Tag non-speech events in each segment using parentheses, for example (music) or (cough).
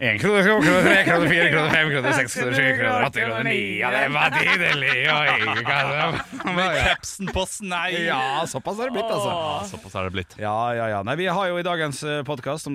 En krone, to kroner, tre kroner, fire kroner, fem kroner, seks kroner, sju kroner, åtte kroner, ni av dem var tidlig, (laughs) og ingen Med kan capsen på snei. Ja, såpass er det blitt, Åh, altså. Såpass er det blitt. Ja, ja, ja. Nei, vi har jo i dagens eh, podkast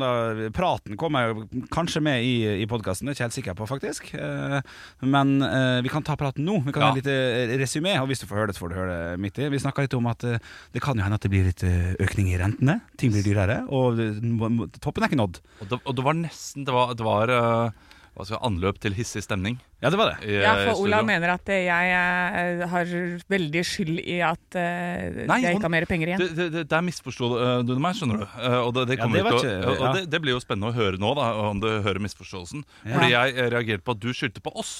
Praten kommer jo kanskje med i, i podkasten, det er jeg ikke helt sikker på, faktisk. Eh, Men eh, vi kan ta praten nå. Vi kan ha Ja. et lite resymé, og hvis du får høre det, så får du høre det midt i. Vi snakka litt om at eh, det kan jo hende at det blir litt eh, økning i rentene. Ting blir dyrere, og eh, toppen er ikke nådd. Og det, og det var nesten Det var, det var eh, hva skal jeg- anløp til hissig stemning. Ja, det var det. i, Ja, eh, for Olav studio. mener at eh, jeg eh, har veldig skyld i at eh, Nei, jeg hun- ikke har mer penger igjen. Det, det, det, der misforsto eh, du meg, skjønner du. Eh, og det, det, Ja, kommer det var til å- ikke- og ja. det, det blir jo spennende å høre nå, da, om du hører misforståelsen. Fordi jeg eh, reagerte på at du skyldte på oss.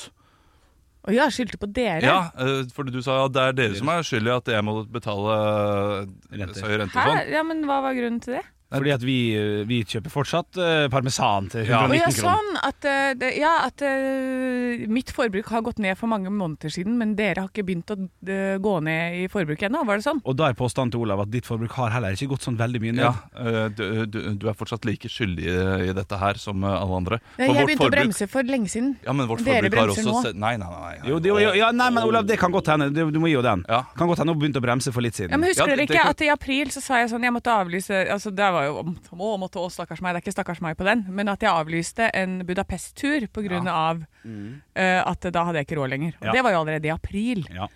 Og ja, skyldte på dere. Ja, eh, fordi du sa at det er dere som er skyld i at jeg må betale eh, Renter. så høy rente Hæ? og sånn. Ja, men hva var grunnen til det? Fordi at vi, eh, vi kjøper fortsatt eh, parmesan til Ja. Å 119 ja, kroner. sånn at, eh, det, ja, at eh, mitt forbruk har gått ned for mange måneder siden, men dere har ikke begynt å eh, gå ned i forbruk ennå. Var det sånn? Og da er påstanden til Olav at ditt forbruk har heller ikke gått sånn veldig mye ned. Ja, eh, du, du, du er fortsatt like skyldig i dette her som eh, alle andre. Nei, For jeg vårt begynte å forbruk- bremse for lenge siden. Ja, men vårt Dere forbruk har bremser også nå. sett- Nei, nei, nei. nei. Jo, det, jo, ja, nei, men Olav, det kan godt hende. Du, du må gi jo den. Ja. Kan godt hende hun begynte å bremse for litt siden. Ja, men Ja, Husker det- dere det ikke kan- at i april så sa jeg sånn Jeg måtte avlyse altså Det var jo om- Å, måtte å, stakkars meg. Det er ikke stakkars meg på den. Men at jeg avlyste en Budapest-tur på grunn av Mm. eh, at da hadde jeg ikke råd lenger. Og Ja. det var jo allerede i april. Ja.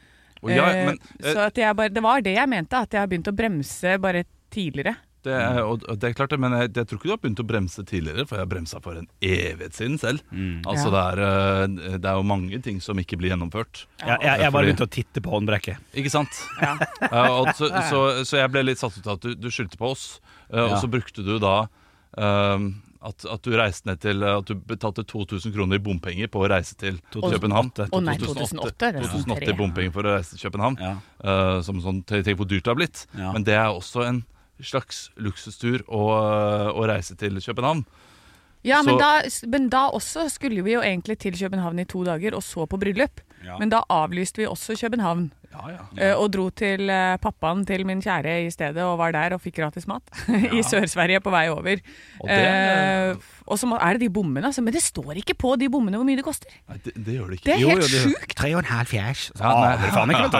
Og ja, Eh, men, eh, så at jeg bare, det var det jeg mente, at jeg har begynt å bremse bare tidligere. det, er- og og det er klart det, men jeg, jeg tror ikke du har begynt å bremse tidligere, for jeg har bremsa for en evighet siden selv. Mm. Altså det, er, eh, det er jo mange ting som ikke blir gjennomført. Jeg, jeg, jeg bare begynte å titte på håndbrekket. Ikke sant? (laughs) Ja, og så, så, så jeg ble litt satt ut av at du, du skyldte på oss, eh, og Ja. så brukte du da ehm, at, at du reiste ned til eh, At du betalte 2000 kroner i bompenger på å reise til 2008. København. Å nei, 2008. eller 2008 i 2003. bompenger for å reise til København. Ja. eh, som sånn, tenk tenk hvor dyrt det har blitt. Ja. Men det er også en slags luksustur å, eh, å reise til København. Ja, men Så- da, men da også skulle vi jo egentlig til København i to dager, og så på bryllup. Ja. Men da avlyste vi også København, Ja, ja. eh, og dro til eh, pappaen til min kjære i stedet, og var der og fikk gratis mat (laughs) i Sør-Sverige på vei over. Og det, Eh, og så må- er det de bommene, altså. Men det står ikke på de bommene hvor mye det koster. Nei, det, det gjør det ikke. Det er helt sjukt! Tre og en halv fjæsj. Ja, nei. Aner faen ikke, vet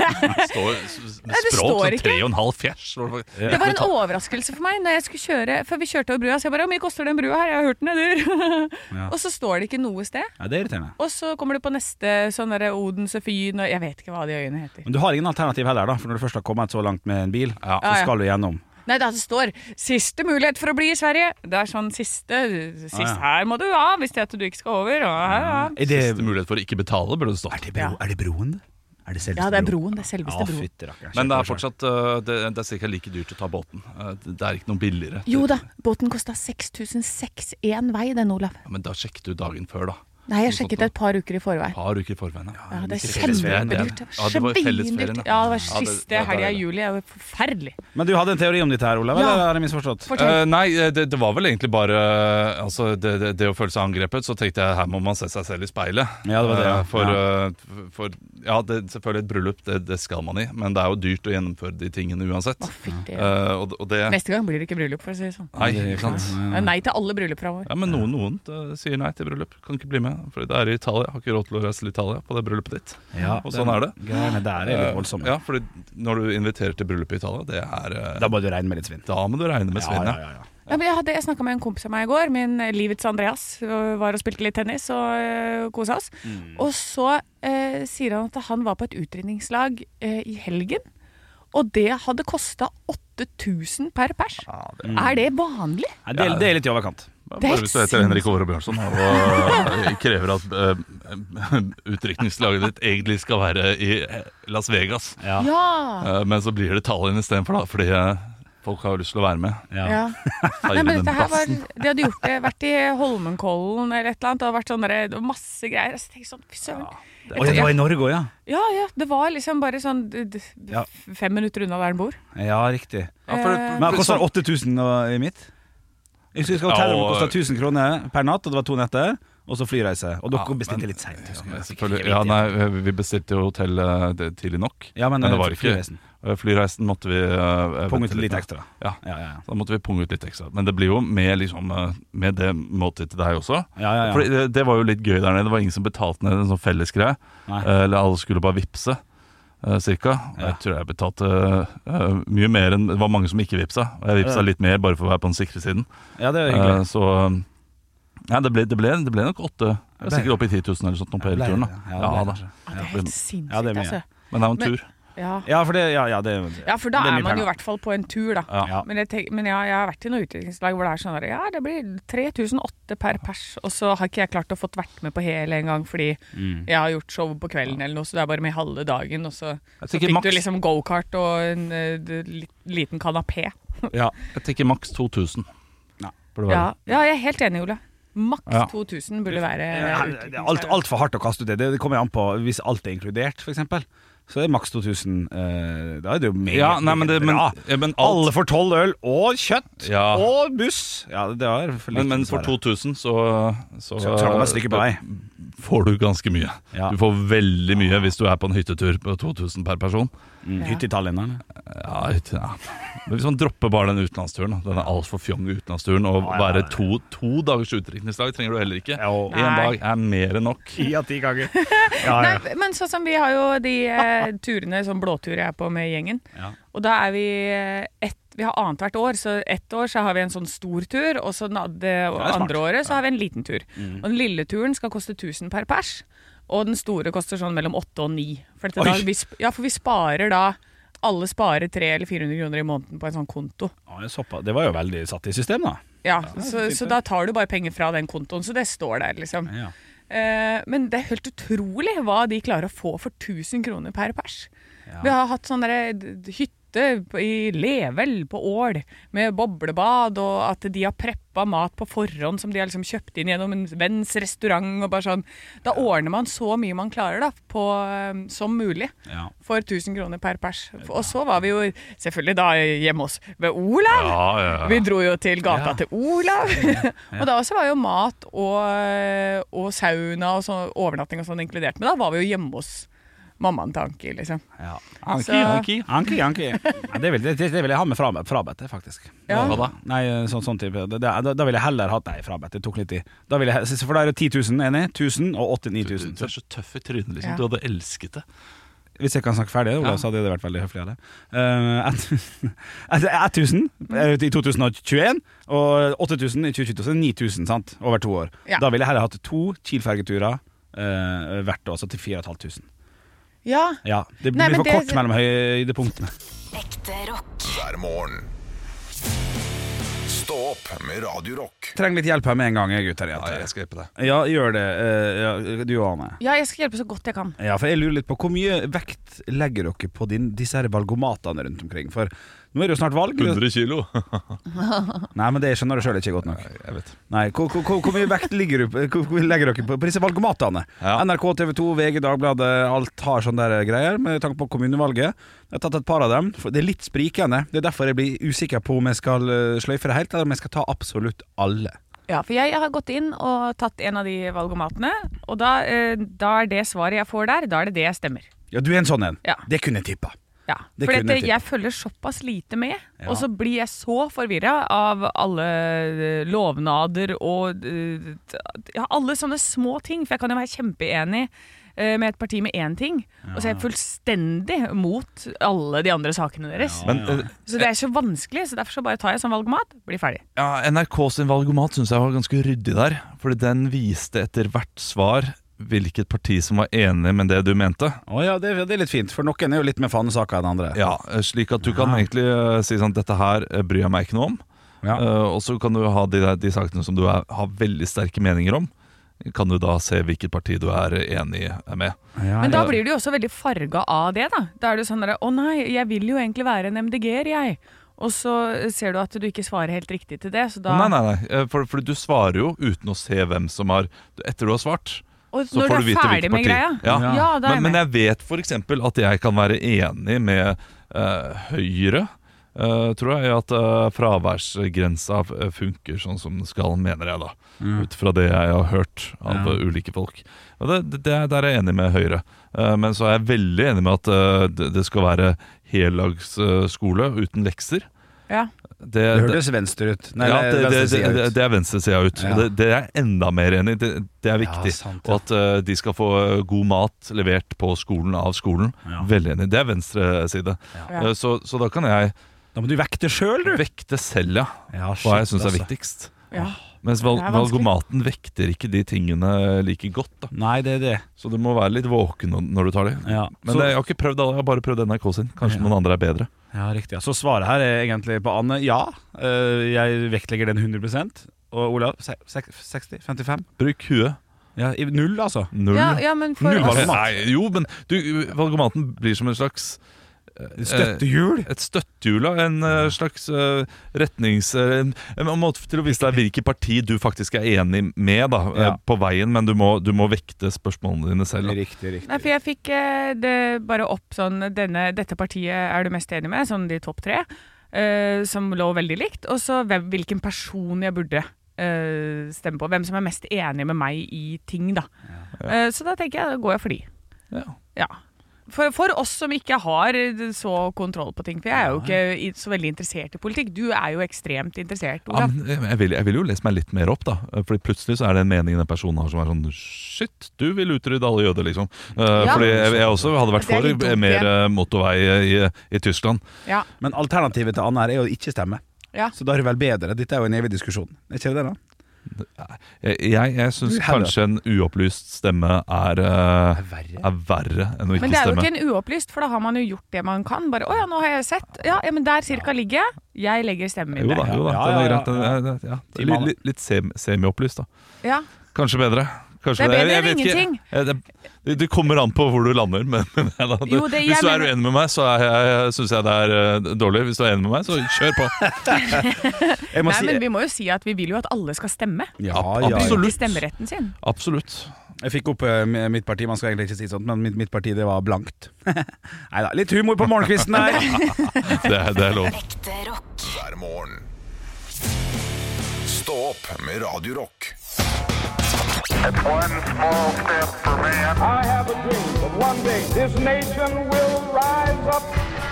du. står, s- med (laughs) Nei, det språk står som ikke. tre og en halv fjers. står det faktisk. Det var en overraskelse for meg når jeg skulle kjøre, før vi kjørte over brua. Så jeg bare 'Hvor mye koster den brua her? Jeg har hørt den er dyr'. (laughs) Og så står det ikke noe sted. Ja, det er irriterende. Og så kommer du på neste sånn derre Odense Fyn og Jeg vet ikke hva de øyene heter. Men du har ingen alternativ heller, da. For når du først har kommet så langt med en bil, så Ja, ja. skal du gjennom. Nei, det står 'siste mulighet for å bli i Sverige'. Det er sånn siste, sist Ah, ja. Her må du av hvis det er at du ikke skal over. Og her, ja. Er det, Siste mulighet for å ikke betale, burde det stått. er det, bro, er det broen? Er det selveste ja, det er broen. Det er selveste Ja, broen. fytti rakkeren. Men det er fortsatt øh, det, det er sikkert like dyrt å ta båten. Eh, Det det er ikke noe billigere. Jo da, båten kosta 6006 én vei, den, Olav. Ja, men da sjekket du dagen før, da. Nei, jeg sjekket det et par uker i forveien. Et par uker i forveien. Ja. Mm. Ja, det er fellesferien, det er- kjempedyrt. ja, det var jo fellesferien, Kjempedyrt. ja. Ja, det Ja, var det- ja, siste det er helga i det. juli. Det var forferdelig. Men du hadde en teori om dette her, Olav? Ja. Eller har jeg misforstått? Fortell. Eh, nei, eh, det, det var vel egentlig bare eh, altså, det, det, det å føle seg angrepet. Så tenkte jeg her må man se seg selv i speilet. Ja, det var det, ja. Eh, For, Ja. eh, f- for ja, det, selvfølgelig et bryllup, det, det skal man i. Men det er jo dyrt å gjennomføre de tingene uansett. Å, fytti. Eh, og, og det Neste gang blir det ikke bryllup, for å si det sånn. Nei, ikke sant. Nei til alle bryllup framover. Ja, men noen, noen eh, sier nei til bryllup. Kan ikke bli med. for det er i Italia. Jeg har ikke råd til å reise til Italia på det bryllupet ditt. Ja, og sånn er det. Greiene der er litt Eh, voldsomme. Ja, fordi når du inviterer til bryllup i Italia, det er eh, Da må du regne med litt svinn. Da må du regne med svinn, ja, ja. ja, ja. Ja, men jeg hadde- jeg snakka med en kompis av meg i går, min eh, livets Andreas. øh, Var og spilte litt tennis og kosa oss. Og så eh, sier han at han var på et utdrikningslag eh, i helgen. Og det hadde kosta 8000 per pers. Er det vanlig? Nei, det, det er litt i overkant. Det er Bare hvis du heter sinnssykt. Henrik Åre Bjørnson og eh, (laughs) krever at uh, utdrikningslaget ditt egentlig skal være i eh, Las Vegas. Ja. Ja. Eh, men så blir det Tallinn istedenfor, da, fordi eh, folk har jo lyst til å være med. Ja. ja. Nei, Feire men den dette her var, bassen. de hadde gjort det, vært i Holmenkollen eller et eller annet. Det hadde vært sånn derre- det var masse greier. Så tenkte jeg sånn, fy søren. Oi, det var i Norge òg, ja. Ja, ja. Det var liksom bare sånn d- d- Ja. f- fem minutter unna der han bor. Eh, Ja, riktig. Ja, for det- Men det koster 8000 og- i mitt. Jeg husker Liksom- hotellet Ja, og- kosta 1000 kroner per natt, og det var to netter. Og så flyreise. Og dere Ja, bestilte men- litt seint. Ja, selvfølgelig. Ja, nei, vi bestilte jo hotell eh, det- tidlig nok. Ja, men, men det var eh, ikke flyreisen. Eh, Flyreisen måtte vi eh, Punge vente ut litt med. ekstra. Ja, Ja, ja, ja. så da måtte vi punge ut litt ekstra. Men det blir jo med, liksom, eh, med det måltidet til deg også. Ja, ja, ja. Fordi det, det var jo litt gøy der nede. Det var ingen som betalte ned en sånn fellesgreie. Nei. Eh, Eller alle skulle bare vippse, eh, cirka. Og Ja. Jeg tror jeg betalte eh, mye mer enn Det var mange som ikke vippsa. Og jeg Ja. vippsa litt mer bare for å være på den sikre siden. ja, det er Eh, hyggelig. Så ja, det, ble, det, ble, det ble nok åtte. Jeg er Sikkert oppe i 10 000 eller sånt nå på Ja, hele turen. Da. Ja, ble det, ja. Ja, det ble da. det. Det er helt sinnssykt, Ja, det er mye. altså. Men det er jo en (laughs) Men- tur. Ja. Ja, for det, ja, ja, det, ja, for da det er mye man jo i penger. hvert fall på en tur, da. Ja. Ja. Men, jeg tenk, men ja, jeg har vært i noen utviklingslag hvor det er sånn der, ja, det blir 3008 per pers, og så har ikke jeg klart å fått vært med på hele en gang fordi Mm. jeg har gjort show på kvelden eller noe, så du er bare med halve dagen, og så, så tenker fikk maks- du liksom go-kart og en eh, d- li- liten kanapé. Ja. Jeg tenker maks 2000. Ja. Burde være. Ja, ja, jeg er helt enig, Ole. Maks Ja. 2000 burde være Ja, det er alt, alt for hardt å kaste ut det. Det kommer jo an på hvis alt er inkludert, f.eks. Så det er maks 2000. eh, Da er det jo meget Ja, nei, men det, men, bra. ja, men Alle alt får tolv øl og kjøtt Ja. og buss. Ja, det er for lite, men, men for dessverre. 2000 så, så, eh, Så- så kommer stykket på vei. får du ganske mye. Ja. Du får veldig mye hvis du er på en hyttetur på 2000 per person. Mm, Hytte i Tallinn, eller? Ja, hytte, ja. Men hvis man dropper bare den utenlandsturen, da, denne altfor fjonge utenlandsturen, og Ja, ja, ja, være ja. to, to dagers utdrikningslag trenger du heller ikke. Jo. Én dag er mer enn nok. Ti av ti ganger. Ja, ja. Nei, men sånn som vi har jo de eh, turene, sånn blåtur jeg er på med gjengen. Ja. Og da er vi eh, ett Vi har annethvert år, så ett år så har vi en sånn stor tur, og så den ad- det smart. Mm. andre året så har vi en liten tur. Og den lille turen skal koste 1000 per pers, og den store koster sånn mellom 8 og 9. For, dette Oi. da, vi, sp- ja, for vi sparer da alle sparer 300 eller 400 kroner i måneden på en sånn konto. Ja, det er såpass- det var jo veldig satt i system, da. Ja, så, så da tar du bare penger fra den kontoen, så det står der, liksom. Ja. Eh, men det er helt utrolig hva de klarer å få for 1000 kroner per pers. Vi har hatt sånn derre d- d- hytte på- i Level på Ål med boblebad, og at de har preppa mat på forhånd som de har liksom kjøpt inn gjennom en venns restaurant. og bare sånn. Da ordner man så mye man klarer da, på, eh, som mulig. Ja. For 1000 kroner per pers. Og så var vi jo selvfølgelig da hjemme hos ved Olav. Ja, ja, ja. Vi dro jo til gata til Olav. (laughs) og da også var jo mat og, og sauna og sånn, overnatting og sånn inkludert. Men da var vi jo hjemme hos mammaen til Anki, liksom. Ja. Så- Anki. Anki, anki. (laughs) Ja, det, vil, det, det vil jeg ha med fra- frabedt, det, faktisk. Ja. Hva da? Nei, sånn, sånn type det, det, Da ville jeg heller hatt Nei, frabedt, det tok litt tid. Da ville jeg, for da er det 10 000, enig? 1000 og 8 Du, du 9000. du er så tøff i trynet, liksom. Ja. Du hadde elsket det. Hvis jeg kan snakke ferdig, Olav, Ja. så hadde det vært veldig høflig av deg. Eh, et- (laughs) et- 1000 eh, i 2021 og 8000 i 2022, så 9000 sant? over to år. Ja. Da ville jeg heller hatt to Kiel-fergeturer eh, hvert år, så til 4500. Ja. Ja, det blir Nei, men for det- kort mellom høydepunktene. Ekte rock. hver morgen. Stå opp med Radio Rock. Trenger litt hjelp her med en gang, jeg, gutter. Nei, jenter. jeg skal hjelpe deg. Ja, gjør det, eh, ja, du og Anne. ja, jeg skal hjelpe så godt jeg kan. Ja, for jeg lurer litt på Hvor mye vekt legger dere på din, disse her valgomatene rundt omkring? For nå er det jo snart valg. 100 kilo. Nei, men det skjønner du sjøl ikke godt nok. Jeg vet. Nei, Hvor hvor- hvor- hvor mye vekt ligger du, på- hvor, hvor legger dere på, på disse valgomatene? Ja. NRK, TV 2, VG, Dagbladet, alt har sånne der greier med tanke på kommunevalget. Jeg har tatt et par av dem. for Det er litt sprikende. Det er derfor jeg blir usikker på om jeg skal eh, sløyfe det helt, eller om jeg skal ta absolutt alle. Ja, for jeg har gått inn og tatt en av de valgomatene, og da, eh, da er det svaret jeg får der, da er det det jeg stemmer. Ja, Du er en sånn en. Ja. Det kunne jeg tippa. Ja, Det for kunne jeg dette, tippe. jeg følger såpass lite med, Ja. og så blir jeg så forvirra av alle eh, lovnader og eh, t- ja, alle sånne små ting. For jeg kan jo være kjempeenig eh, med et parti med én ting, og så er jeg fullstendig mot alle de andre sakene deres. Men eh, Så det er så vanskelig, så derfor så bare tar jeg sånn valgomat, blir ferdig. ja, NRK sin valgomat syns jeg var ganske ryddig der. Fordi den viste etter hvert svar hvilket parti som var enig med det du mente. Å ja, det, det er litt fint, for noen er jo litt mer fanesaker enn andre. Ja, eh, Slik at du kan egentlig eh, si sånn Dette her eh, bryr jeg meg ikke noe om. Ja. Eh, og så kan du ha de, der- de sakene som du er, har veldig sterke meninger om. Kan du da se hvilket parti du er enig med. Ja, Men da ja. blir du jo også veldig farga av det, da. Da er du sånn derre Å nei, jeg vil jo egentlig være en MDG-er, jeg. Og så ser du at du ikke svarer helt riktig til det, så da Nei, nei, nei. eh, For, for du svarer jo uten å se hvem som har Etter du har svart, Og så når får du du er vite ferdig hvilket med parti. greia. Ja. da er men, jeg men med. jeg vet f.eks. at jeg kan være enig med eh, Høyre. eh, tror jeg at eh, fraværsgrensa f- funker sånn som den skal, mener jeg da. Ut fra det jeg har hørt av Mm. Ja. eh, ulike folk. Og det, det, det er- der er jeg enig med Høyre. Eh, men så er jeg veldig enig med at eh, det, det skal være heldagsskole uten lekser. Ja. Det, Det det- hørtes venstre ut. Nei, ja, det, det, venstresida det, ut. det, det er venstresida ut. Ja. Og Det, det er jeg enda mer enig i. Det, det er Ja, viktig. sant, Og at eh, de skal få eh, god mat levert på skolen av skolen. Ja. Veldig enig. Det er venstreside. Ja. Eh, så, så da kan jeg Da må du vekte sjøl, du! vekte selv, ja. Ja, Hva jeg shit, syns er altså. viktigst. Ja. Mens val Det er vanskelig. valgomaten vekter ikke de tingene like godt. Da. Nei, det er det. Så du må være litt våken når- når du tar de. Ja. Men Så- det, jeg har ikke prøvd alle, jeg har bare prøvd NRK sin. Kanskje Ja. noen andre er bedre. Ja, riktig. Ja. Så svaret her er egentlig på Anne ja. Eh, jeg vektlegger den 100 Og Olav se- sek- 60? 55? Bruk huet. Ja, i null, altså. Null. Ja, ja, men for Null oss, valg. Nei, jo, men du, valgomaten blir som en slags eh, Støttehjul. et støttehjul, da, en eh, slags eh, retnings... eh, En, en måte til å vise deg hvilket parti du faktisk er enig med da, eh, Ja. på veien, men du må, du må vekte spørsmålene dine selv. Da. Riktig, riktig. Nei, for jeg fikk eh, det bare opp sånn denne, Dette partiet er du mest enig med, sånn de topp tre, eh, som lå veldig likt. Og så hvem, hvilken person jeg burde eh, stemme på. Hvem som er mest enig med meg i ting, da. Eh, så da tenker jeg da går jeg for de. Ja. Ja. For, for oss som ikke har eh, så kontroll på ting, for jeg er jo ikke i- så veldig interessert i politikk. Du er jo ekstremt interessert, Ja, Olav. men eh, jeg, vil, jeg vil jo lese meg litt mer opp, da. Eh, Fordi plutselig så er det en mening den personen har som er sånn Shit, du vil utrydde alle jøder, liksom. Eh, Ja. Fordi jeg, jeg også hadde vært Det er for litt dumt, mer det. eh, motorvei i, i Tyskland. Ja. Men alternativet til Anne her er jo å ikke stemme. Ja. Så da er det vel bedre. Dette er jo en evig diskusjon. Er ikke det det, da? Jeg, jeg, jeg syns Du heller. kanskje en uopplyst stemme er, eh, er verre enn å ikke Men det er jo stemme. ikke en uopplyst, for da har man jo gjort det man kan. Bare 'Å ja, nå har jeg sett. Ja, ja men der cirka ligger jeg. Jeg legger stemmen min Jo da, der'. jo da, Ja, den ja, er ja, greit. Den er, ja. Ti Litt, mann, litt, litt sem, semiopplyst, da. Ja. Kanskje bedre. Kanskje Det er bedre jeg enn vet ikke. ingenting. Eh, Det, det, det kommer an på hvor du lander, men, men ja, da, du, Jo, det- jeg hvis du er mener- uenig med meg, så er jeg- syns jeg det er eh, dårlig. Hvis du er enig med meg, så kjør på. Jeg må Nei, si- men vi må jo si at vi vil jo at alle skal stemme. ja, Ab- ja, ja. absolutt. Bruke stemmeretten sin. (laughs) Absolutt. Jeg fikk opp eh, mitt parti. Man skal egentlig ikke si sånt, men mitt, mitt parti det var blankt. (laughs) Nei da. Litt humor på morgenkvisten her. Det, er- det er lov. hver morgen. Stå opp med Radio Rock. One small step for man. I have a dream that one day this nation will rise up.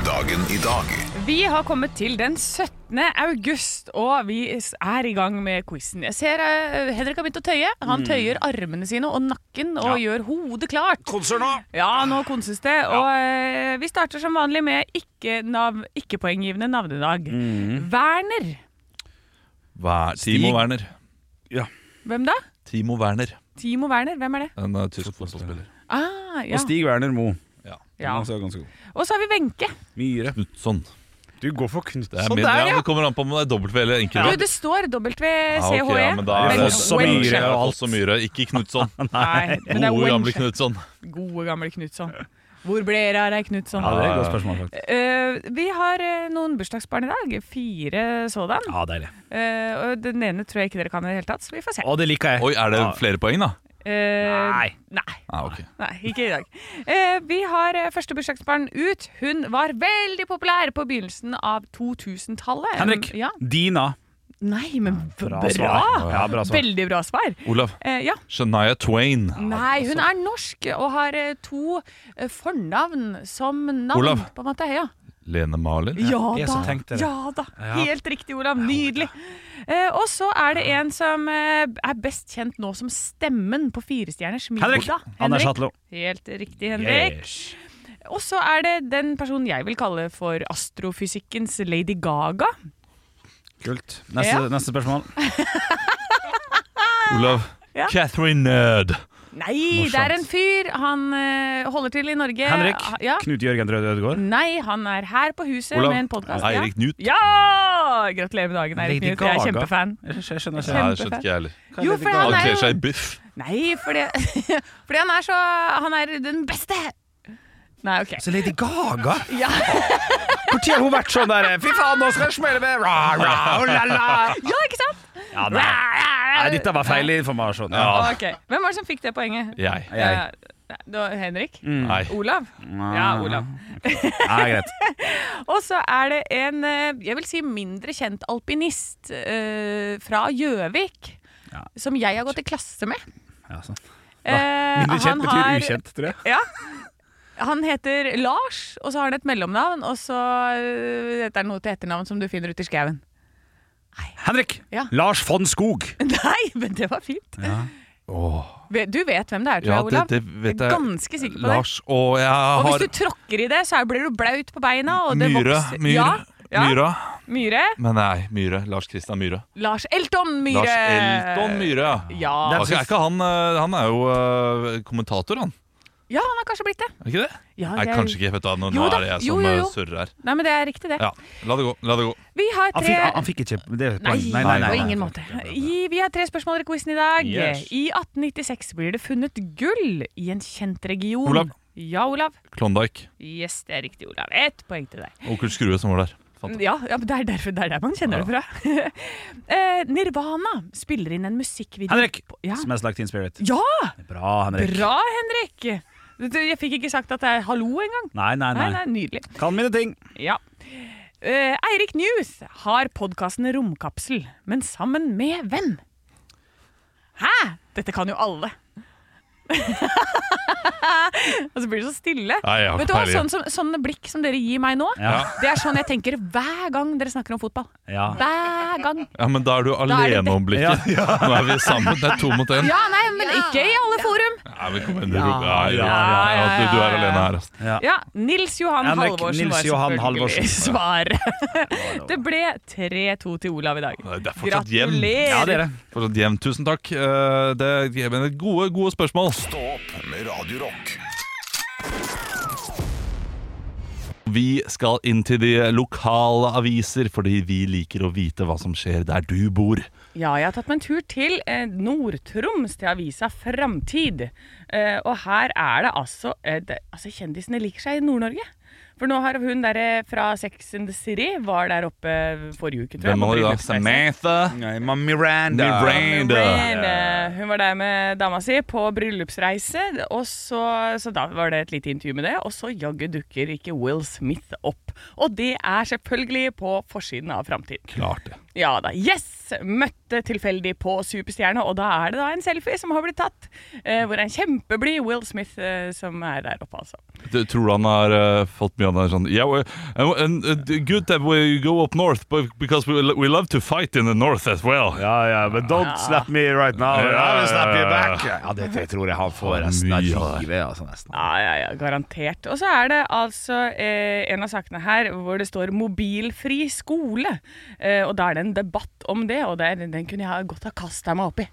Dagen i dag Vi har kommet til den 17. august, og vi er i gang med quizen. Jeg ser eh, Henrik har begynt å tøye. Han tøyer armene sine og nakken og gjør hodet klart. Konser nå! Ja, nå konses det. Og eh, vi starter som vanlig med ikke nav- ikke-poenggivende navnedag. Werner. Ver, Timo Werner. Hvem da? Timo Werner. Timo Werner, hvem er det? En eh, tysk fotballspiller. Ah, ja. Og Stig Werner Moe. ja. Han også er ganske god. Og så har vi Wenche. Myhre. Knutson. Du går for Knut. Det, er Sånn min, der, ja, ja. det kommer an på om det er dobbelt V eller enkel. Du, det står WCHE. Ja, ok, ja, men da er Men det Foss og Wenche. Myhre og alt. Foss og Myhre, ikke (laughs) Knutson. Nei, men det er Gode, gamle Wenche. Knutson. Gode, gamle Knutson. Hvor ble det av deg, Knutson? Ja, det er et godt spørsmål, faktisk. Eh, vi har eh, noen bursdagsbarn i dag. Fire sådan. Ja, deilig. Eh, og den ene tror jeg ikke dere kan i det hele tatt, så vi får se. Å, det liker jeg. Oi, er det Ja. flere poeng, da? Eh, Nei. nei. Ah, ok. Nei, ikke i dag. Eh, vi har eh, første bursdagsbarn ut. Hun var veldig populær på begynnelsen av 2000-tallet. Henrik. Ja. Dina. Nei, men bra! svar. Ja, bra svar. Veldig bra svar. Olav. Eh, ja. Shania Twain. Nei, hun er norsk og har eh, to eh, fornavn som navn, Olav. på en måte. Ja. Lene Marlin. Ja jeg som tenkte da. det. ja da. Ja. Helt riktig, Olav. Nydelig. Eh, og så er det en som eh, er best kjent nå som stemmen på Firestjerners Henrik! middag. Anders Hatlo. Helt riktig, Henrik. Og så er det den personen jeg vil kalle for astrofysikkens Lady Gaga. Kult. Neste, Ja. Eh, neste spørsmål. Olav. (laughs) Ja. Catherine Nerd. Nei, det er en fyr. Han eh, holder til i Norge. Henrik. ah, Ja. Knut Jørgen Røde Ødegaard. Nei, han er her på huset Olav. med en podkast. Eirik Knut. Ja! Gratulerer med dagen, Eirik Lady Knut. Jeg er Gaga. kjempefan. Jeg skj- jeg skjønner Nei, ikke. det skjønte ikke jeg heller. Hva er Jo, Lady for Gaga? Han er kler jo- seg i biff. Nei, fordi, (laughs) fordi han er så Han er den beste! Nei, OK. Så Lady Gaga? Ja. Når har hun vært sånn der Fy faen, nå skal jeg smelle med ra, ra, oh, la, la. Ja, ikke sant? Ja, nei. nei, dette var feil informasjon. Ja. Ok, Hvem var det som fikk det poenget? Jeg. Jeg. Mm. Ja, det var Henrik? Nei. Olav? Ja, Ah. Olav. Ja, greit. Og så er det en eh, jeg vil si mindre kjent alpinist eh, fra Gjøvik. Ja. Som jeg har gått i klasse med. Ja, sånn. Eh, Mindre kjent han betyr har- ukjent, tror jeg. Ja. Han heter Lars, og så har han et mellomnavn. Og så eh, Dette er noe til etternavn som du finner ute i skauen. (laughs) Henrik! Ja. Lars von Skog. Nei, men det var fint. Ve- Du vet hvem det er, tror Ja, det, jeg, Olav. det vet jeg er jeg. ganske sikker på det. Lars og jeg Og har hvis du tråkker i det, så er- blir du blaut på beina. Og det Myhre. vokser- Myhre. Ja, ja. Myhre. Myhre. Men nei, Myhre. Lars Christian Myhre. Lars Elton Myhre. Lars Elton Myhre. Ja. Den- Er ikke han, eh, han er jo eh, kommentator, han. ja, han har kanskje blitt det. Er ikke det? Ja, Nei, jeg- kanskje ikke. Vet du, hva, nå, Jo nå da, er det jeg jo, som jo, eh, jo. surrer her. Nei, men det er riktig, det. Ja, la det gå. La det gå. Vi har Han fikk, han, tre han fikk ikke det er et Nei, poeng. på ingen måte. I, vi har tre spørsmål i quizen i dag. Yes. I 1896 blir det funnet gull i en kjent region. Olav. Ja, Olav. Klondyke. Yes, det er riktig, Olav. Ett poeng til deg. Onkel Skrue som var der. Fant det. Ja, ja men det, er derfor, det er der man kjenner det fra. (laughs) eh, Nirvana spiller inn en musikkvideo Henrik! på- Ja. Smells like teen spirit. ja! Bra, Henrik. Bra, Henrik! Du, Jeg fikk ikke sagt at det er hallo engang. Nei, nei, Nei, nei, nei. nydelig. Kan mine ting. Ja. Eh, Eirik News har podkasten Romkapsel, men sammen med hvem? Hæ? Dette kan jo alle. (laughs) Og så blir det så stille. Nei, jeg har Vet du ikke hva, peiling. sånn, som- Sånne blikk som dere gir meg nå, Ja. det er sånn jeg tenker hver gang dere snakker om fotball. Ja. Hver gang. Ja, men da er du er det alene om blikket. Nå er vi sammen. Det er to mot én. Ja, Ah, nei, men ikke i alle forum. Ja, velkommen. Du, ja, ja, ja, ja, ja. Du, du er alene her, altså. Ja, Nils Johan Henrik Halvorsen Nils var Johan selvfølgelig svaret. Det ble 3-2 til Olav i dag. Nei, Det er fortsatt jevn. Ja, det er Gratulerer! det. Fortsatt jevn. Tusen takk. Eh, Det er men det er gode, gode spørsmål. Stå opp med Radio Rock. Vi skal inn til de lokale aviser, fordi vi liker å vite hva som skjer der du bor. Ja, jeg har tatt meg en tur til eh, Nord-Troms, til avisa Framtid. Eh, og her er det altså, eh, det, altså Kjendisene liker seg i Nord-Norge. For nå har hun der eh, fra Sex and the City var der oppe forrige uke, tror jeg. Hvem på var det da? bryllupsreise. Samantha? Nei, ma- Miranda. Miranda. Miranda. eh, Hun var der med dama si på bryllupsreise, og så, så da var det et lite intervju med det. Og så jaggu dukker ikke Will Smith opp. Og det er selvfølgelig på forsiden av Framtid. Klart det. Ja da. Yes! Møtte tilfeldig på Superstjerne, og da er det da en selfie som har blitt tatt. Eh, hvor en kjempeblid Will Smith eh, som er der oppe, altså. Du tror du han har eh, fått mye av den sånn yeah, we, and, and, uh, Good that we go up north, but because we, we love to fight in the north as well. Ja, ja, men don't slap me right now. Ja, I will slap you ja, ja. back. Ja, det det tror jeg han får resten av livet. Altså, nesten. Ja, ja, ja, garantert. Og så er det altså eh, en av sakene her hvor det står 'mobilfri skole'. Eh, og da er det en debatt om det, og det er, den kunne jeg ha godt ha kasta meg opp i.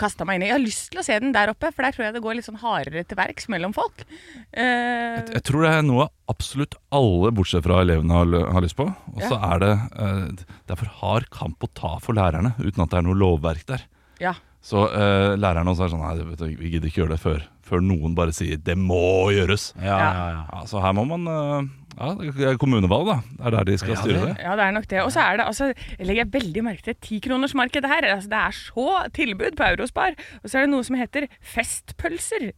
Kastet meg inn i. Jeg har lyst til å se den der oppe, for der tror jeg det går litt sånn hardere til verks mellom folk. Eh, Jeg tror det er noe absolutt alle, bortsett fra elevene, har, lø- har lyst på. Og så er det eh, Det er for hard kamp å ta for lærerne, uten at det er noe lovverk der. ja. Så eh, lærerne også er sånn Nei, vet du, vi gidder ikke gjøre det før, før noen bare sier 'det må gjøres'. Ja, ja, ja. Ja, så her må man eh, Ja, det er kommunevalg, da. Det er der de skal styre det. Ja, det er nok det. Og så er det altså, jeg legger veldig merke til tikronersmarkedet her. Altså, det er så tilbud på Eurospar. Og så er det noe som heter festpølser.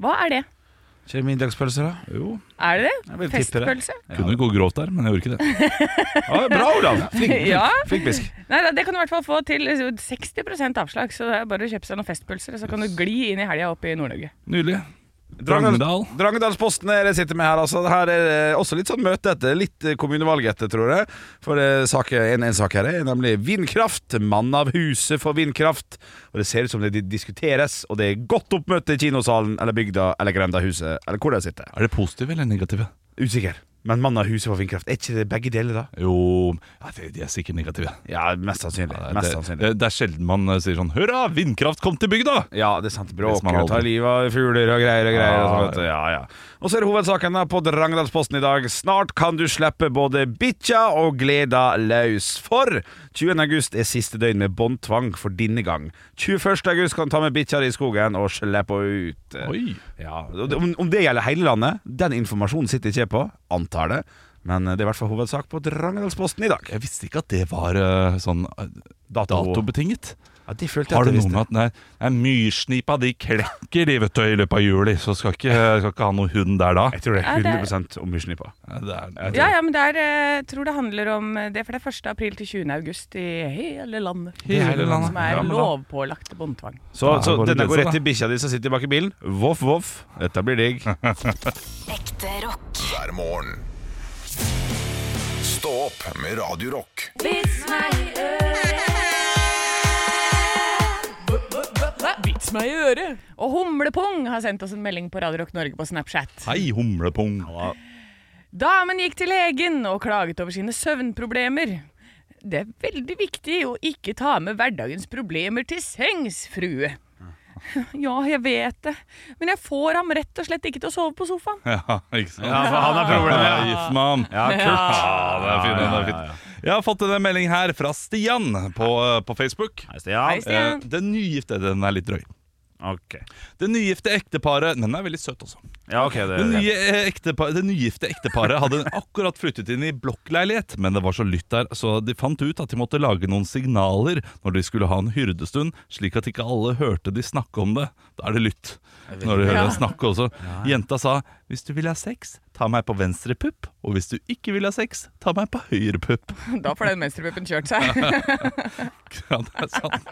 Hva er det? Ikke middagspølser, da? Jo, Er det Jeg det? vil tippe det. Festpølse? kunne gå grovt der, men jeg gjorde ikke det. Ja, bra, Olav! (laughs) Flink, flink, Ja. flink bisk. Nei, da, Det kan du i hvert fall få til eh, 60 avslag, så det er bare å kjøpe seg noen festpølser, og så kan du gli inn i helga opp i Nord-Norge. Nydelig. Drangedal. Drangedal- Drangedalsposten er det jeg sitter med her. Altså. Her er det også litt sånn møte etter. Litt eh, kommunevalg etter, tror jeg. For eh, sak, en, en sak her er nemlig vindkraft. Mann av huset for vindkraft. Og det ser ut som det diskuteres, og det er godt oppmøte i kinosalen eller bygda eller grendahuset eller hvor de sitter. Er det positive eller negative? Usikker. Men mann av huset for vindkraft, er ikke det begge deler, da? Jo, ja, de- de er sikkert negative. Ja, mest sannsynlig. Ja, mest det, sannsynlig. det, det er sjelden man eh, sier sånn Hurra, vindkraft kom til bygda! Ja, det er sant. Hvis man Bråker og tar aldri- livet av fugler og greier og greier. Og, Ja, sånn, vet du. ja, ja. og så er det hovedsaken da på Drangedalsposten i dag. Snart kan du slippe både bikkja og gleda løs. For 20. august er siste døgn med båndtvang for denne gang. 21. august kan du ta med bikkja di i skogen og slippe henne ut. Oi. Ja, og det- om, om det gjelder hele landet, den informasjonen sitter ikke jeg på. Antar det. Men eh, det er i hvert fall hovedsak på Drangedalsposten i dag. Jeg visste ikke at det var eh, sånn eh, Dato. datobetinget. Ja, det følte jeg Har at du jeg noe med at Nei, nei myrsnipa de klekker de vet du, i løpet av juli, så skal ikke, skal ikke ha noe hund der da. Jeg tror det Ja, er det- 100 om mysjnippa. Ja, Det er, Ja, ja, men det er, eh, jeg tror det handler om eh, det, for det er 1. april til 20. august i hele landet. Hele landet. Som er Ja, men da- lovpålagt båndtvang. Så, Da er det så bare å denne glede går seg, rett da. til bikkja di som sitter bak i bilen. Voff, voff. Dette blir digg. Ekte rock. hver morgen. Stå opp med Radio Rock. Vits meg i øret! Og Humlepung har sendt oss en melding på Radio Rock Norge på Snapchat. Hei, humlepung. Damen gikk til legen og klaget over sine søvnproblemer. Det er veldig viktig å ikke ta med hverdagens problemer til sengs, frue. (laughs) Ja, jeg vet det, men jeg får ham rett og slett ikke til å sove på sofaen. (laughs) Ja, ikke sant? for han har problemer, ja. Gift med han. Ja, kult. Ja, det er fint, det er fint. Jeg har fått en melding her fra Stian på, eh, på Facebook. Hei, Eh, Stian. Den nygifte, den er litt drøy. Ok. Det nygifte ekteparet Den er veldig søt også. Ja, ok, det, Det, nye eh, ektepa- det nygifte ekteparet hadde akkurat flyttet inn i blokkleilighet, men det var så lytt der, så de fant ut at de måtte lage noen signaler når de skulle ha en hyrdestund, slik at ikke alle hørte de snakke om det. Da er det lytt. Når de hører dem snakke også. Jenta sa 'hvis du vil ha sex, ta meg på venstre pupp', og 'hvis du ikke vil ha sex, ta meg på høyre pupp'. (laughs) Da får den menstrupuppen kjørt seg. (laughs) Ja, det er sant.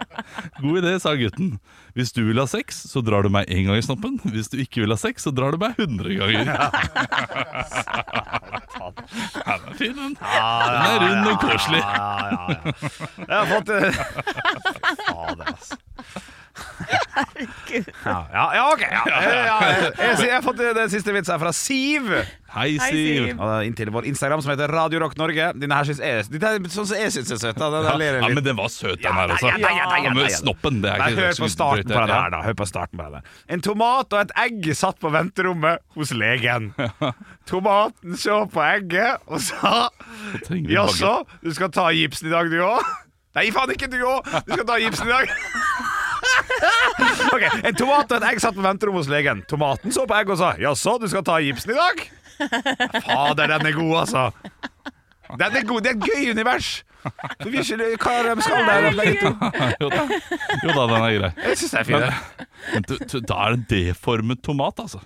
God idé, sa gutten. Hvis du vil ha sex, så drar du meg én gang i snoppen. Hvis du ikke vil ha sex, så drar du meg 100 ganger. (laughs) Ja, den er fin, den. Den er rund og koselig. Jeg har (laughs) fått det. Fader, altså. Ja, ja, ja, ok. Ja. Ja, jeg, jeg, jeg har fått eh, den siste vitsen her fra Siv. Hei, Hei, Siv. Siv. Og det er Inntil vår Instagram som heter Radio Rock Norge. Denne her syns jeg, dette er sånn som jeg syns er søt. Da. Den Ja, der ler jeg ja, men litt. den var søt, den her også. Ja, ja, ja, ja, ja, ja. Men Snoppen, det er Nei, ikke hør på starten på den Ja. her, da. Hør på starten på den her. En tomat og et egg satt på venterommet hos (laughs) legen. Tomaten så på egget og sa Da trenger vi bagett. Jaså, du skal ta gipsen i dag, du òg? (laughs) Nei, faen ikke du òg! Du skal ta gipsen i dag. (laughs) Ok, En tomat og et egg satt på venterommet hos legen. Tomaten så på egget og sa 'jaså, du skal ta gipsen i dag'? Fader, den er god, altså. Den er god, Det er et gøy univers. Du vil ikke hva de skal der. Jo da. jo da, den er grei. Jeg syns det er Men, fint. men du- du- da er det en deformet tomat, altså.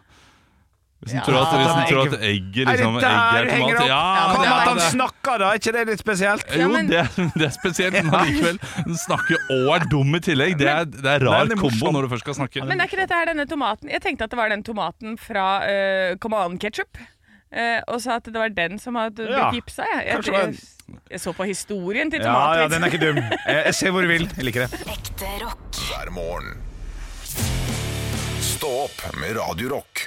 Hvis en tror at, den hvis en er tror ikke- at egget Er det liksom, der egg du er henger tomat opp? Ja, Hva men med det er at han det. snakker, da? Er ikke det litt spesielt? Jo, men- det, er, det er spesielt, men allikevel. Den snakker og er dum i tillegg. Det er, det er rar Men- kombo når du først skal snakke. (laughs) Men er ikke dette her denne tomaten? Jeg tenkte at det var den tomaten fra uh, Come On Ketchup. eh, og sa at det var den som hadde Ja. blitt gipsa. Kanskje Jeg. Jeg, det var jeg, jeg så på historien til Ja, ja, den tomatvitsen. er ikke dum. Jeg jeg ser hvor du vil. Jeg liker det. Ekte rock. hver morgen. Stå opp med Radio Rock.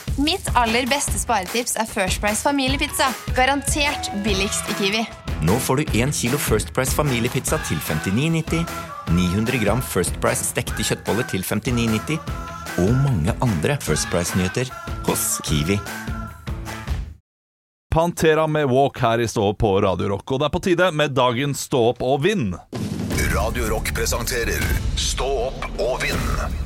Mitt aller beste sparetips er First Price familiepizza. Garantert billigst i Kiwi. Nå får du 1 kilo First Price familiepizza til 59,90, 900 gram First Price stekte kjøttboller til 59,90 og mange andre First Price-nyheter hos Kiwi. Pantera med Walk her i Stå opp på Radio Rock. Og det er på tide med dagens Stå opp og vinn. Radio Rock presenterer Stå opp og vinn.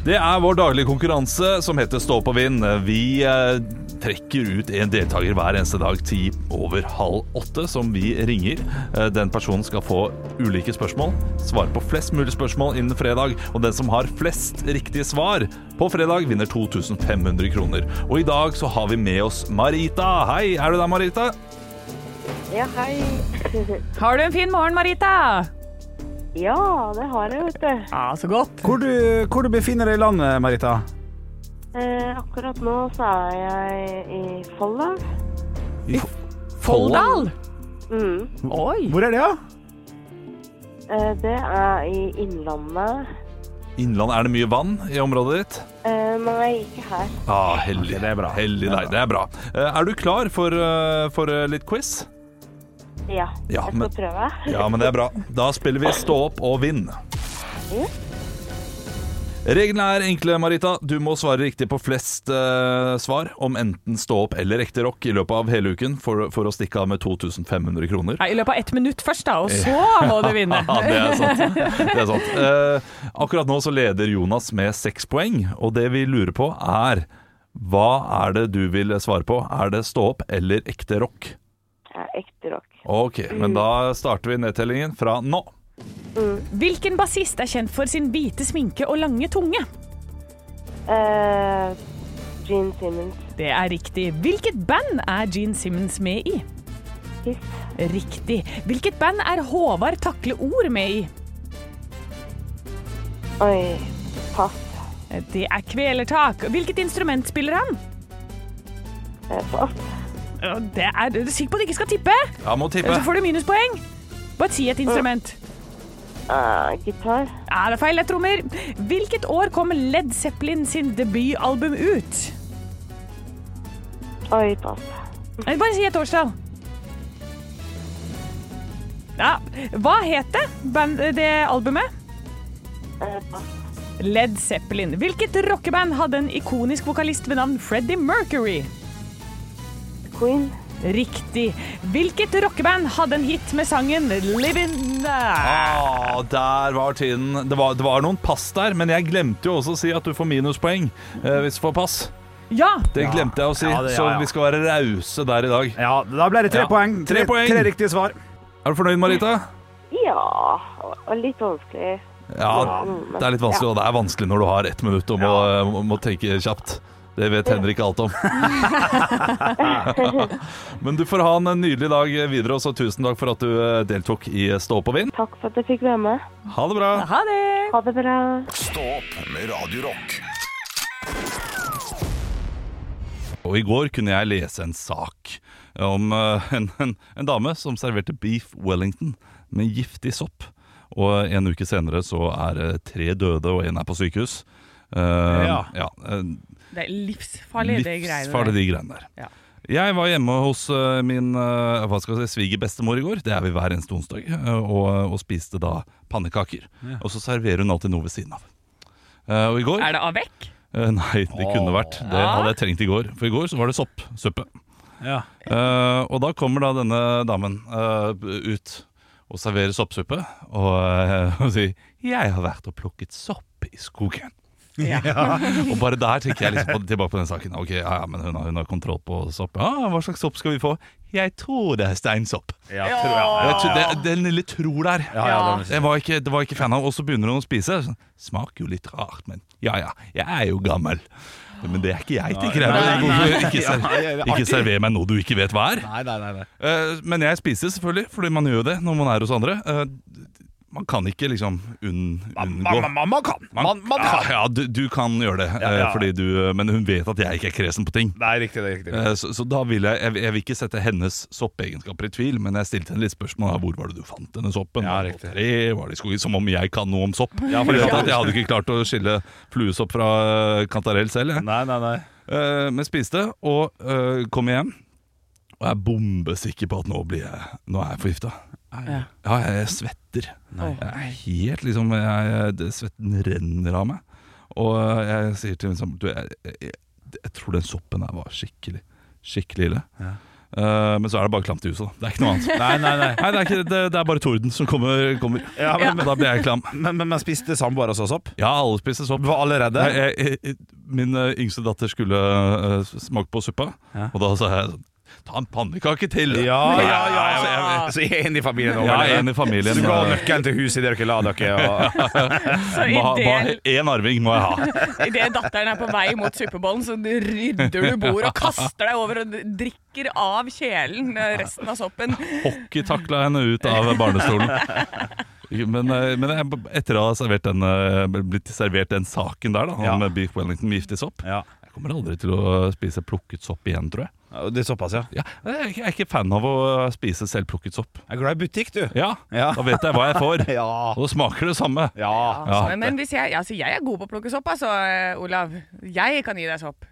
Det er vår daglige konkurranse som heter Stå opp og vinn. Vi eh, trekker ut en deltaker hver eneste dag ti over halv åtte, som vi ringer. Eh, den personen skal få ulike spørsmål, svare på flest mulig spørsmål innen fredag. Og den som har flest riktige svar på fredag, vinner 2500 kroner. Og i dag så har vi med oss Marita. Hei, er du der, Marita? Ja, hei. (laughs) Har du en fin morgen, Marita? Ja, det har jeg, vet du. Ja, så godt. Hvor du, hvor du befinner deg i landet, Marita? Eh, akkurat nå så er jeg i Folldal. I Folldal? Mm. Oi. Hvor er det, da? Eh, det er i Innlandet. Innland, er det mye vann i området ditt? Eh, nei, ikke her. Ah, heldig. det er bra. Heldig deg, det er bra. Eh, Er du klar for, eh, for eh, litt quiz? Ja, Ja, jeg skal men- prøve. Ja, men det er bra. Da spiller vi Stå opp og vinn. Mm. Reglene er enkle, Marita. Du må svare riktig på flest eh, svar om enten Stå opp eller Ekte rock i løpet av hele uken for, for å stikke av med 2500 kroner. Nei, I løpet av ett minutt først, da, og så må du vinne. Ja, det er sant. Det er sant. Eh, akkurat nå så leder Jonas med seks poeng, og det vi lurer på er hva er det du vil svare på? Er det stå opp eller ekte rock? Jeg er ekte rock. Ok, men da starter vi nedtellingen fra nå. Hvilken bassist er kjent for sin hvite sminke og lange tunge? Eh, Gene Simmons. Det er riktig. Hvilket band er Gene Simmons med i? Kiss. Riktig. Hvilket band er Håvard Takle Ord med i? Oi, pass. Det er Kvelertak. Hvilket instrument spiller han? Eh, pass. Å, Det er, er du sikker på at du ikke skal tippe? Ja, må tippe. Ellers så får du minuspoeng. Bare si et instrument. Eh, gitar. Ja, det er feil, det er trommer. Hvilket år kom Led Zeppelin sin debutalbum ut? Oi, pass. Nei, Bare si et årstall. Ja, hva het det, band, det albumet? Eh, pass. Led Zeppelin. Hvilket rockeband hadde en ikonisk vokalist ved navn Freddie Mercury? Queen. Riktig. Hvilket rockeband hadde en hit med sangen Livin' Ah, der var tiden. Det var, det var noen pass der, men jeg glemte jo også å si at du får minuspoeng eh, hvis du får pass. Ja! Det Ja. glemte jeg å si, Ja, det- ja, ja. så vi skal være rause der i dag. Ja, da ble det tre Ja. poeng. Tre poeng. tre riktige svar. Er du fornøyd, Marita? Ja, og- og litt vanskelig. Ja, Mm, det er litt vanskelig, og det er vanskelig når du har ett minutt og må, eh, må tenke kjapt. Det vet Henrik alt (laughs) om. Men du får ha en nydelig dag videre, og så tusen takk for at du eh, deltok i Stå opp og vinn. Takk for at jeg fikk være med. Ha det bra! Ha det! Ha det bra. Stå opp med Radio Rock. Og i går kunne jeg lese en sak om eh, en, en, en dame som serverte beef wellington med giftig sopp. Og en uke senere så er det tre døde, og én er på sykehus. Eh, Ja. eh, Det er livsfarlig, det greiene Livsfarlig, de greiene der. Ja. Jeg var hjemme hos eh, min eh, hva skal jeg si, svigerbestemor i går. Det er vi hver eneste onsdag. eh, og, og spiste da pannekaker. Og så serverer hun alltid noe ved siden av. Eh, og i går Er det avec? Eh, nei, det kunne vært. Det hadde jeg trengt i går. For i går så var det soppsuppe. Ja. Eh, og da kommer da denne damen eh, ut og serverer soppsuppe og, eh, (laughs) og sier 'Jeg har vært og plukket sopp i skogen'. (laughs) og bare der tenker jeg liksom på, tilbake på den saken. Ok, ja, ja, men hun har, hun har kontroll på sopp. Ja, hva slags sopp skal vi få? Jeg tror det er steinsopp. Ja, tror jeg. Jeg tror- det- Den lille tror der. Ja, ja, den- Det var ikke, det var ikke fan av. Og så begynner hun å spise. Sånn, Smaker jo litt rart, men ja ja, jeg er jo gammel. Men det er ikke jeg, tenker jeg. Nei, nei, Hvorfor Ikke, Ja, ja, ser, ja. ikke server meg noe du ikke vet hva er. Nei, nei, nei, nei. Eh, Men jeg spiser selvfølgelig, fordi man gjør jo det når man er hos andre. Eh, Man kan ikke liksom unn, unngå Man, man, man kan. Man, man ja, kan. ja, du, du kan gjøre det, Ja, ja. eh, Fordi du, men hun vet at jeg ikke er kresen på ting. Nei, riktig, det er riktig. Eh, Så, så da vil jeg, jeg Jeg vil ikke sette hennes soppeegenskaper i tvil, men jeg stilte henne litt spørsmål om hvor var det du fant denne soppen. Ja, Var det på riktig. Tre, var det i skogen? Som om jeg kan noe om sopp. Ja, for for det kan du. at Jeg hadde ikke klart å skille fluesopp fra eh, kantarell selv. Jeg. Nei, nei, nei. Eh, Men spiste og eh, kom hjem. Og jeg er bombesikker på at nå, blir jeg, nå er jeg forgifta. Ja. Ja, jeg, jeg svetter. Jeg er helt liksom jeg, jeg, det- Svetten renner av meg. Og eh, jeg sier til min samboer Du, jeg, jeg, jeg, jeg tror den soppen her var skikkelig Skikkelig ille. Eh, men så er det bare klamt i huset, da. Det er ikke noe annet. Nei, nei, nei. det, er ikke, det, det er bare torden som kommer. kommer. Ja, men- Og Da blir jeg klam. Men, men man spiste samboer og sopp? Ja, alle spiste sopp. Var allerede? Nei, jeg, jeg, min eh, yngste datter skulle eh, smake på suppa, og da sa jeg sånn Ta en pannekake til! Ja, Nei, ja, ja. altså. jeg- jeg- jeg- Så én i familien Ja, en i familien. Så du ga nøkkelen til huset i dere la dere (laughs) og... Så Må ha- må ha- ideell. Eh, En arving må jeg ha. Idet datteren er på vei mot suppebollen, så rydder du bordet og kaster deg over og drikker av kjelen eh, resten av soppen. Hockeytakla henne ut av (laughs) barnestolen. Men, eh, men jeg, etter å ha servert den, eh, blitt servert den saken der, da, om eh, beef wellington med giftig sopp Jeg kommer aldri til å eh, spise plukket sopp igjen, tror jeg. Det er såpass, ja. jeg, er ikke- jeg er ikke fan av å eh, spise selvplukket sopp. Jeg er glad i butikk, du. Ja, Da vet jeg hva jeg (laughs) får, og da smaker det samme. Så, men hvis jeg, altså, jeg er god på å plukke sopp, altså, eh, Olav. Jeg kan gi deg sopp.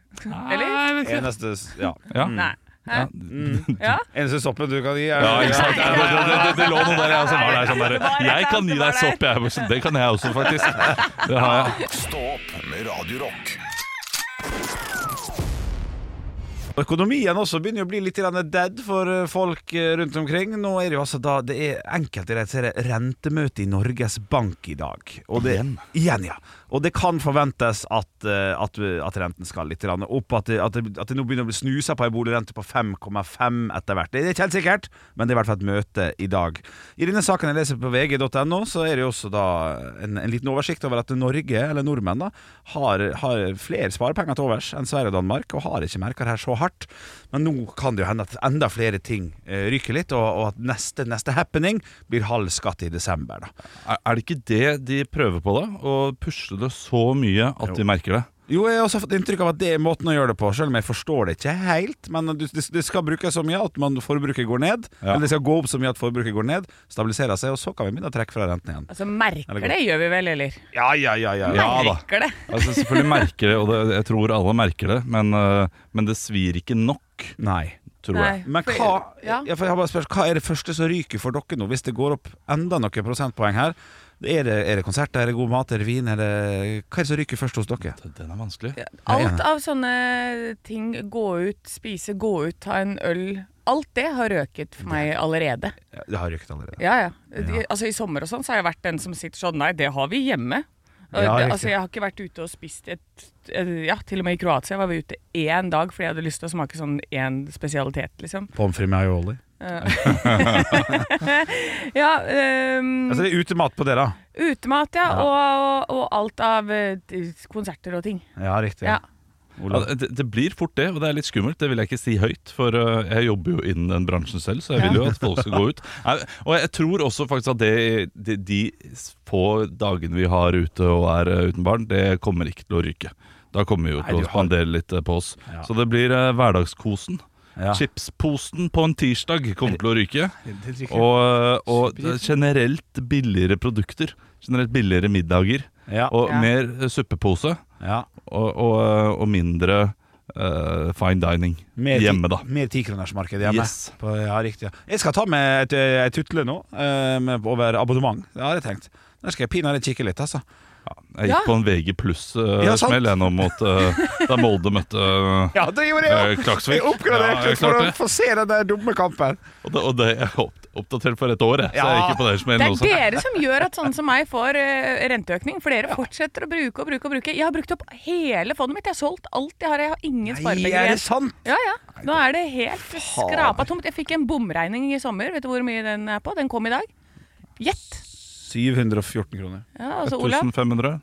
Eller? Eneste Ja. Ja. Nei. Hæ? Mm. Ja? Eneste soppen du kan gi, er Ja, ikke sant? (laughs) Det, det, det, det, det lå noe der, jeg som var der. Sånn Det der. var der, Jeg kan gi deg sopp, jeg. også. Det kan jeg også, faktisk. Det har jeg. Stå opp med Radio Rock. Økonomien også begynner jo å bli litt grann dead for eh, folk eh, rundt omkring. Nå er det jo altså da Det er enkelte rett så er det rentemøte i Norges Bank i dag. Og det, igjen. ja. Og det kan forventes at, eh, at, at renten skal litt grann opp. At det, at, det, at det nå begynner å bli snusa på ei boligrente på 5,5 etter hvert. Det er ikke helt sikkert, men det er i hvert fall et møte i dag. I denne saken jeg leser på vg.no, så er det jo også da en, en liten oversikt over at Norge, eller nordmenn, da, har, har flere sparepenger til overs enn Sverige og Danmark, og har ikke merka det her så hardt. Men nå kan det jo hende at enda flere ting eh, ryker litt, og, og at neste, neste happening blir halv skatt i desember. Da. Er, er det ikke det de prøver på, da? Å pushe det så mye at de merker det? Jo, jeg har også fått inntrykk av at det er måten å gjøre det på, selv om jeg forstår det ikke helt. Men du- det, det skal brukes så mye at man forbruket går ned, Ja. eller det skal gå opp så mye at forbruket går ned, stabiliserer seg, og så kan vi begynne å trekke fra renten igjen. Altså, merker det gjør vi vel, eller? Ja, ja, ja. ja. Merker det. Altså, selvfølgelig merker det, og det, jeg tror alle merker det, men, eh, men det svir ikke nok. Nei. Tror jeg. Men for- hva, ja, for jeg har bare spørs, hva er det første som ryker for dere nå, hvis det går opp enda noen prosentpoeng her? Er det, er det konserter, er det god mat, er det vin? Er det, hva er det som ryker først hos dere? Den er vanskelig. Alt av sånne ting, gå ut, spise, gå ut, ta en øl Alt det har røket for meg allerede. Det har ryket allerede. Ja, ja. De, altså, I sommer og sånn så har jeg vært den som sitter sånn Nei, det har vi hjemme. Og Ja, det, riktig. altså, jeg har ikke vært ute og spist et, eh, Ja, til og med i Kroatia var vi ute én dag fordi jeg hadde lyst til å smake sånn én spesialitet, liksom. Pommes frites med aioli. Eh. ja, ehm, Altså det er utemat på dere? utemat, ja. Ja. Og, og alt av eh, d- konserter og ting. Ja, riktig. Ja. Ja, det, det blir fort det, og det er litt skummelt. Det vil jeg ikke si høyt, for eh, jeg jobber jo innen den bransjen selv, så jeg vil jo at folk skal gå ut. Nei, Og jeg tror også faktisk at det, de, de få dagene vi har ute og er eh, uten barn, det kommer ikke til å ryke. Da kommer vi jo til å spandere litt eh, på oss. Så det blir eh, hverdagskosen. Ja. Chipsposen på en tirsdag kommer til å ryke. det ryker. Og, øh, og Chipsposen. generelt billigere produkter. Generelt billigere middager. Og Ja. mer eh, suppepose. Og, og, eh, og mindre eh, fine dining Mer ti- hjemme, da. Mer tikronersmarked hjemme. Yes. På, ja, riktig. Ja. Jeg skal ta med et, et tutle nå, eh, med, over abonnement. Det har jeg tenkt. Der skal jeg pinadø kikke litt, altså. Jeg gikk på en VG Ja, sant. pluss-smell nå mot (laughs) eh, da Molde møtte eh, Ja, det gjorde jeg eh, òg! Klaksvik. Jeg oppgraderte Ja, jeg litt for klarte å det. få se den der dumme kampen. Og det, og det jeg er opp, oppdatert for et år, jeg. Så jeg Ja. gikk på den Det smellen er også. dere som gjør at sånne som meg får eh, renteøkning, for dere fortsetter å bruke og bruke og bruke. Jeg har brukt opp hele fondet mitt, jeg har solgt alt jeg har, jeg har ingen er sparepenger det igjen. sant? Ja, ja. Nå er det helt skrapa tomt. Jeg fikk en bomregning i sommer, vet du hvor mye den er på? Den kom i dag. Gjett! 714 kroner. Ja, altså Olav, 1500.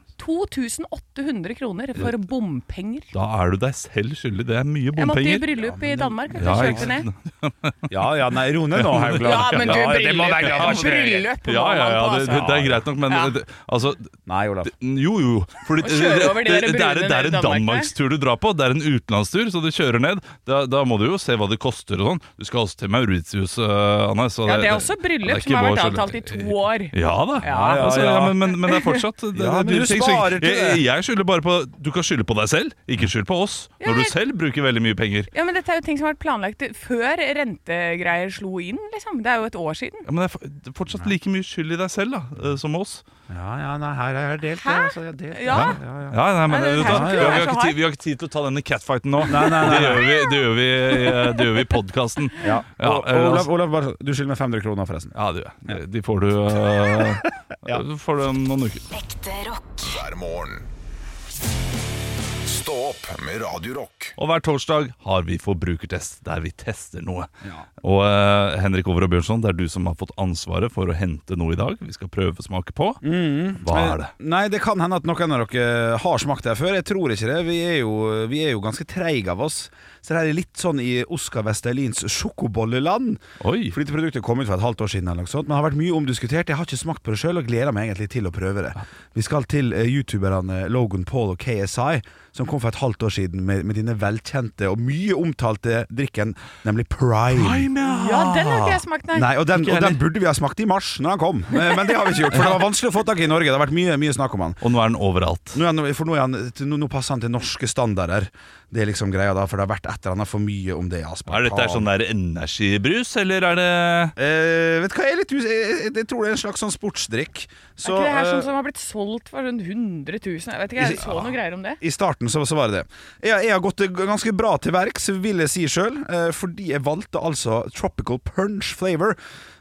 2800 kroner for bompenger. Da er du deg selv skyldig. Det er mye Jeg måtte i bompenger. bryllup i Danmark, vet du, Ja, ikke kjøpe ned. Ja ja, nei, ro ned nå, (laughs) Haugland. Ja, men du, det må være glad for. bryllup! Ja, ja, ja, altså. det, det, det er greit nok, men Ja. det, altså Nei, Olav. Jo, jo. Fordi, Å kjøre over de der det, det, er, det brune er en nede i Danmark, danmarkstur du drar på. Det er en utenlandstur, så du kjører ned. Da, da må du jo se hva det koster og sånn. Du skal også til Mauritius, eh, Anne. Så Ja, det er også det er bryllup ikke som har vår vært skyld. avtalt i to år. Ja da. Ja. altså, ja. (laughs) ja, men, men, men det er fortsatt det, Ja, det men er ting husk sparer til jeg, det. jeg skylder bare på Du kan skylde på deg selv, ikke skyld på oss. Ja, Når du jeg- selv bruker veldig mye penger. Ja, men Dette er jo ting som har vært planlagt før rentegreier slo inn. liksom. Det er jo et år siden. Ja, men det er f- det er fortsatt like mye skyld i deg selv da, eh, som oss. Ja, ja, nei, her er jeg delt. Hæ? altså, jeg er delt. Ja. Ja, ja. Ja, nei, men Nei, det er vet du hva, vi, helt kult. har- vi, har Det er så ikke tid, vi har ikke tid til å ta denne catfighten nå. (laughs) Nei, nei, nei, Det nei. gjør vi, det gjør vi, eh, det gjør vi i podkasten. Ja. Ja, Og- eh, og Olav, altså- Olav bare, du skylder meg 500 kroner, forresten. Ja, du, de- de får du eh, får du om noen uker. Hver morgen. Stå opp med Radio Rock. Og hver torsdag har vi forbrukertest, der vi tester noe. Og eh, Henrik Over og Bjørnson, det er du som har fått ansvaret for å hente noe i dag. Vi skal prøvesmake på. Hva er det? Eh, Nei, Det kan hende at noen av dere har smakt det her før. Jeg tror ikke det. Vi er jo, vi er jo ganske treige av oss. Så det her er litt sånn i Oskar Vestelins sjokobolleland. Oi. Fordi dette produktet kom ut for et halvt år siden, eller noe sånt, men har vært mye omdiskutert. Jeg har ikke smakt på det sjøl og gleder meg egentlig til å prøve det. Vi skal til eh, youtuberne Logan Paul og KSI, som kom for et halvt år siden med, med denne velkjente og mye omtalte drikken, nemlig Prime. Ja, den har ikke jeg smakt, nei. og den, og den burde vi ha smakt i mars når han kom, Eh, men det har vi ikke gjort. For det var vanskelig å få tak i i Norge. Det har vært mye, mye snakk om han. Og nå er den overalt. Nå, er han, for nå, er han, til- nå, nå passer han til norske standarder. Det er liksom greia da, for det har vært et eller annet for mye om det i Aspartam. Er dette her sånn der energibrus, eller er det Eh, vet du hva, jeg, er litt, us- jeg, jeg, jeg tror det er en slags sånn sportsdrikk. Så, er ikke det her eh, Ah. sånn som har blitt solgt for rundt 100 000? Jeg vet ikke, jeg så noe greier om det. I starten så, så var det det. Jeg, jeg har gått det g- ganske bra til verks, vil jeg si sjøl, eh, fordi jeg valgte altså tropical punch flavor.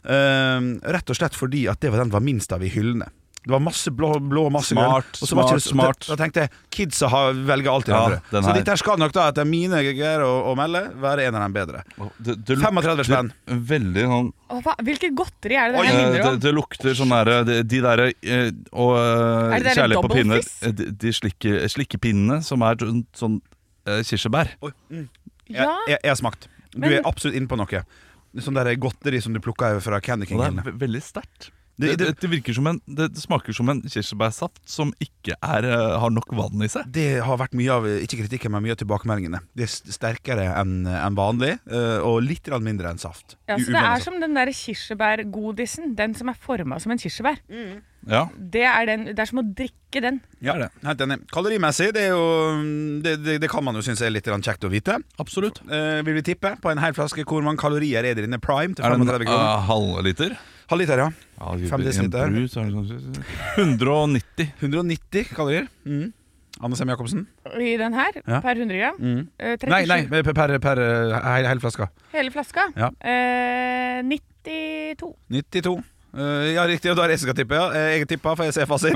Eh, rett og slett fordi at det var den var minst av i hyllene. Det var masse blå, blå masse grønn. Smart, og så var smart, det- smart. Da, da tenkte jeg kidsa har, velger alltid Ja, andre. den Så her. dette her skal nok da, etter mine greier å, å melde, være en av de bedre. det, det 35 spenn. det- Veldig sånn Å, hva, hvilket godteri er det det Eh, her minner det, om? det lukter sånn derre De, de derre eh, Og eh, Er det derre kjærlighet på double pinne fizz? eh, De, de slikke, slikkepinnene som er sånn, sånn eh, kirsebær. Jeg, jeg, jeg har smakt. Du Men- er absolutt inne på noe. Sånn der godteri som du plukka fra Candy Og det er King. ve- veldig sterkt. Det, Det- det, det virker som en Det det smaker som en kirsebærsaft som ikke er, eh, har nok vann i seg. Det har vært mye av, ikke kritikken, men mye av tilbakemeldingene. Det er s- sterkere enn enn vanlig, eh, og litt grann mindre enn saft. Ja, så det Ublandet er som den der kirsebærgodisen. Den som er forma som en kirsebær. Mm. Ja, Det, er den, det er som å drikke den. Ja, helt enig. Kalorimessig, det, er jo, mm, det, det, det kan man jo synes er litt grann kjekt å vite. absolutt. Eh, vil vi tippe på en hel flaske hvor mange kalorier er det Ah. inne prime til Er det 35 en kroner? eh, halvliter? Halv liter, ja. gud, i 5 en desiliter. brus er det sånn- kanskje- 190. 190 kalorier. Mm. Anne Sem Jacobsen? I den her, Ja. per 100 gram. Mm. Eh, 37. Nei, nei, per, per, per eh, hel, hel flaske. Hele flaska. Ja. Eh, 92. 92. Eh, ja, riktig. Og da er det jeg som skal tippe. Ja. Eh, Jeg tipper, for jeg ser (laughs) fasit.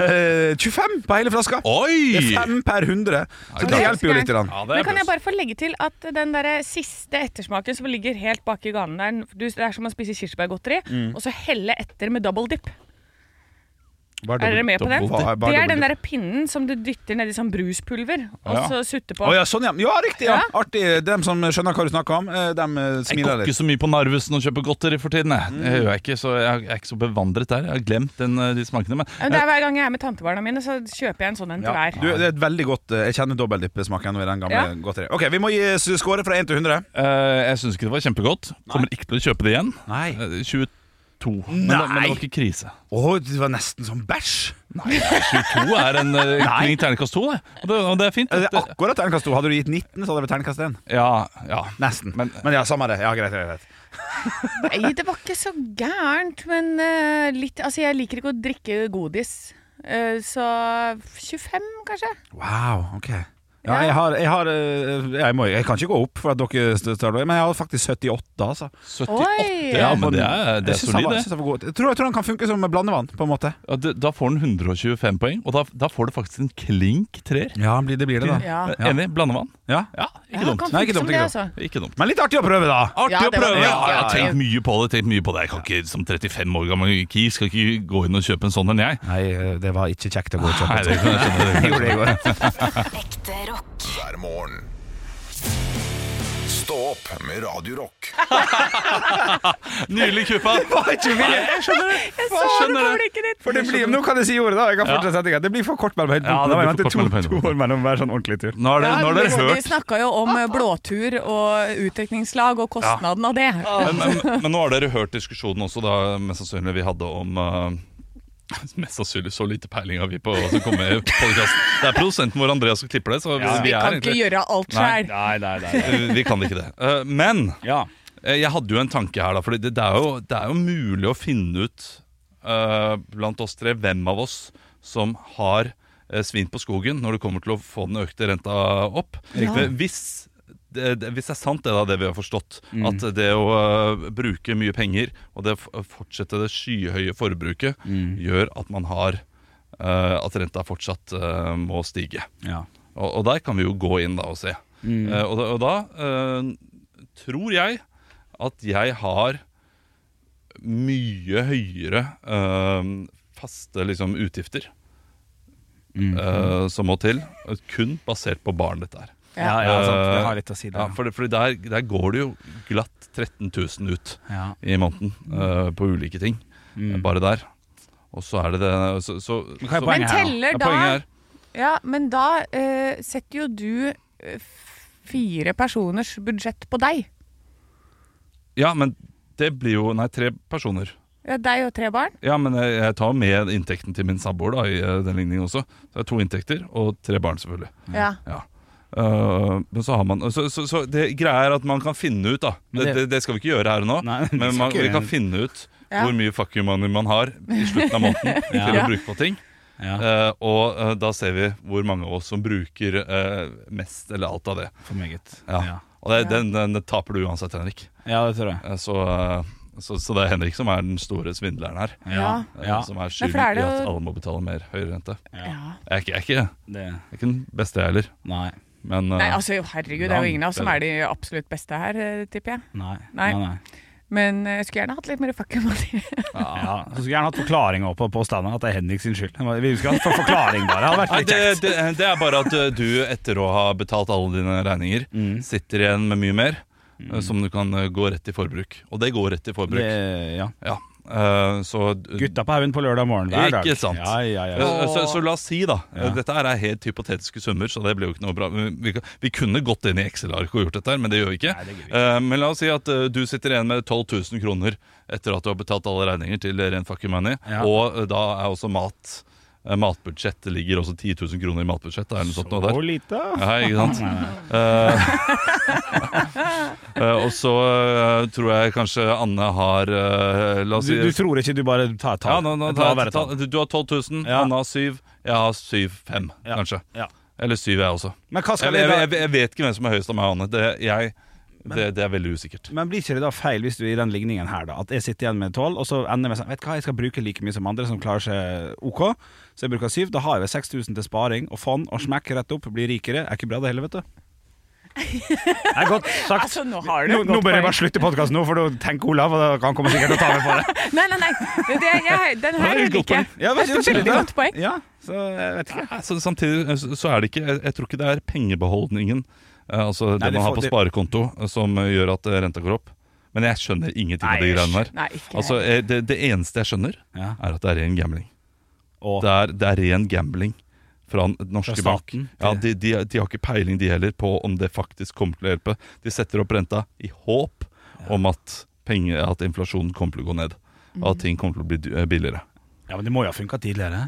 Eh, 25 på hele flaska. Det er Oi! fem per hundre. Så det det er hjelper jo litt. Grann. Ja, det Men er kan jeg bra. bare få legge til at den der siste ettersmaken som ligger helt bak i ganen der du- Det er som å spise kirsebærgodteri, Mm. og så helle etter med double dip. Hva Er dere med på den? Hva er- hva Det er dobbelt den dip? der pinnen som du dytter nedi som bruspulver, og Ja. så sutter på. Å ja, sånn, ja. ja, riktig! Ja. Ja. Artig. Dem som skjønner hva du snakker om, eh, dem eh, Jeg smiler går ikke litt. så mye på Narvesen og kjøper godteri for tiden. Jeg, jeg, gjør jeg, ikke, så jeg er ikke så bevandret der. Jeg har glemt den, eh, de smakene. Men Ja, men Det er Hver gang jeg er med tantebarna mine, så kjøper jeg en sånn en til Ja. hver. Du, det er et veldig godt eh, Jeg kjenner dobbeltdippesmaken nå i den gamle Ja. godteriet. Ok, vi må gi s- score fra 1 til 100. eh, jeg syns ikke det var kjempegodt. Kommer ikke til å kjøpe det igjen. Nei. Eh, 22. Oh. Men, det- men det var ikke krise. Å, det var nesten som bæsj! Eh, Nei, 22 er en eh, kling terningkast to, det. Og det, og det er fint. Eh, Det Det, er akkurat terningkast to. Hadde du gitt 19, så hadde det vært terningkast 1. ja, ja. Nesten. Men, Men- ja, samme det. Ja, greit, greit, greit. Nei, det var ikke så gærent, men eh, litt Altså, jeg liker ikke å drikke godis. Eh, så 25, kanskje? Wow, ok. Ja, jeg har, jeg har eh, jeg, må, jeg kan ikke gå opp, for at dere st- står der, men jeg har faktisk 78, altså. 78. Oi! Ja, men det er, det er Jeg synes han solid, var- det. jeg synes han var god. Jeg tror, jeg tror han kan funke som blandevann, på en måte. Ja, det. Da får den 125 poeng, og da, da får du faktisk en klink treer. Ja, han blir- det blir det, da. Ja. Eh, Enig? Blandevann? Ja. Ja, ikke Ja, dumt. kan Nei, ikke dumt, funke som ikke det, dumt. altså. Ikke dumt. Men litt artig å prøve, da! Artig Ja, å det var prøve! Ja, veldig jeg har artig. tenkt mye på det. tenkt mye på det Jeg kan ikke som 35 år gammel ki skal ikke gå inn og kjøpe en sånn en, jeg. Nei, eh, det var ikke kjekt å gå og Nei, det kan jeg skjønne. Jeg gjorde (laughs) det i går. Hver morgen. Stå opp med Radio Rock. Nydelig kuppa! Jeg skjønner det. Jeg skjønner det. For det blir, nå kan jeg si ordet, da. Jeg kan fortsette setningen. Det blir for kort mellom høydepunktene. Ja, det Da må jeg blir for vente kort mellom to, to år mellom hver sånn ordentlig tur. Nå har dere, nå har dere vi hørt snakka jo om eh, blåtur og utdrikningslag og kostnaden av det. men, men, men nå har dere hørt diskusjonen også, da, mest sannsynlig vi hadde om eh, (laughs) Mest sannsynlig så lite peiling har vi på hva som kommer i podkasten. Det er produsenten vår Andreas som klipper det. Så Så er vi kan ikke egentlig- gjøre alt Nei. selv. Eh, Vi kan ikke det. Eh, Men eh, jeg hadde jo en tanke her, da. For det, det, er jo- det er jo mulig å finne ut eh, blant oss tre hvem av oss som har eh, svin på skogen når det kommer til å få den økte renta opp. Ja. Men Hvis det, det, hvis det er sant det, da, det vi har forstått, Mm. at det å eh, bruke mye penger og det å f- fortsette det skyhøye forbruket, Mm. gjør at man har eh, at renta fortsatt eh, må stige. Ja. Og, og der kan vi jo gå inn da og se. Mm. Eh, og da, og da eh, tror jeg at jeg har mye høyere eh, faste liksom, utgifter Mm. eh, som må til, kun basert på barn dette er. Ja, ja, sant. Det Eh, har litt å si, det. Ja, for for der, der går det jo glatt 13 000 ut Ja. i måneden eh, på ulike ting. Mm. Eh, Bare der. Og så er det det så, så, hva er så- Men teller Ja, da Poenget er Ja, men da eh, setter jo du eh, fire personers budsjett på deg. Ja, men det blir jo Nei, tre personer. Ja, deg og tre barn. Ja, men jeg, jeg tar med inntekten til min samboer da, i eh, den ligningen også. Så jeg har to inntekter og tre barn, selvfølgelig. Ja. Eh, men så har man Så, så, så det greia er at man kan finne ut, da. Men Det, det- det, det skal vi ikke gjøre her og nå, (laughs) vi men skal man, ikke vi gjøre kan det. finne ut Ja. hvor mye fuck you money man har i slutten av måneden (laughs) Ja. til å Ja. bruke på ting. Eh, og eh, da ser vi hvor mange av oss som bruker eh, mest eller alt av det. For meget. Ja. Ja. Og det, den, den, den taper du uansett, Henrik. Ja, det tror jeg. Eh, Så, eh, så, så det er Henrik som er den store svindleren her. Ja. Eh, Ja. Som er Men skyld for er det i at jo- alle må betale mer høyere rente. Ja. Jeg er ikke, jeg er ikke, jeg er ikke den beste, jeg heller. Nei. Men, eh, Nei, altså herregud, det er jo ingen av oss som er de absolutt beste her, eh, tipper jeg. Nei. Nei. Nei, nei. Men eh, jeg skulle gjerne hatt litt mer fucking money. Ja, så skulle jeg gjerne hatt forklaring også på påstanden at det er Henrik sin skyld. Vi skulle hatt for- forklaring bare. Det hadde vært Nei, litt det, kjekt. det, det er bare at eh, du, etter å ha betalt alle dine regninger, sitter igjen med mye mer eh, som du kan eh, gå rett i forbruk. Og det går rett i forbruk. Det- ja. Eh, så, Gutta på haugen på lørdag morgen hver dag. Ikke sant. Ja, ja, ja. Eh, Så, så la oss si, da. eh, Ja. Dette her er helt hypotetiske summer, så det blir jo ikke noe bra. Men Vi, kan- vi kunne gått inn i Excel-ark og gjort dette, her, men det gjør vi ikke. Eh, men la oss si at eh, du sitter igjen med 12 000 kroner etter at du har betalt alle regninger til Ren Fucking Money, Ja. og eh, da er også mat eh, Matbudsjett det ligger også 10 000 kroner i matbudsjett. da, Eller noe sånt noe der. Så lite? Ja, ikke sant? Nei, Eh, (laughs) eh, og så eh, tror jeg kanskje Anne har eh, La oss si Du, du tror ikke du bare tar et tall? ja, nå, nå, Et tar jeg lavere et tall. Du, du har 12 000, Anna har 7 Jeg har 7-5, kanskje Eller 7 jeg også Men hva skal jeg, vi da- jeg, jeg, jeg vet ikke hvem som er høyest av meg og Anne det, jeg, det, det er veldig usikkert Men blir ikke det da feil hvis du er i den ligningen her, da? At jeg sitter igjen med tolv, og så ender jeg med sånn Vet du hva, jeg skal bruke like mye som andre som klarer seg OK, så jeg bruker syv. Da har jeg vel 6000 til sparing og fond, og smekk rett opp, blir rikere. Er ikke bra det heller, vet du. Det er godt sagt. (laughs) Altså, nå har du Nå, et nå godt bør jeg poeng. bare slutte podkasten nå, for da tenker Olav, og da kan han komme sikkert til å ta meg på (laughs) det. Nei, nei, nei. Det, det- jeg, den her Det er et liker godt jeg. poeng. Ja, vær Det er så et veldig snill, da. godt poeng. Ja, så jeg vet ikke. Nei, så, Samtidig eh, så- så er det ikke Jeg, jeg tror ikke det er pengebeholdningen eh, Altså det, Nei, det man har får- på det- sparekonto eh, Som eh, gjør at eh, renta går opp Men jeg skjønner ingenting av de jeg greiene der skj- nei, ikke Altså eh, det, det eneste jeg skjønner Er at det er ren gambling det, er, det er ren gambling fra den norske Fra bank. staten? Ja, de, de, de har ikke peiling de heller på om det faktisk kommer til å hjelpe. De setter opp renta i håp om at, penger, at inflasjonen kommer til å gå ned, og at ting kommer til å bli dy- eh, billigere. Ja, men det må jo ha funka tidligere.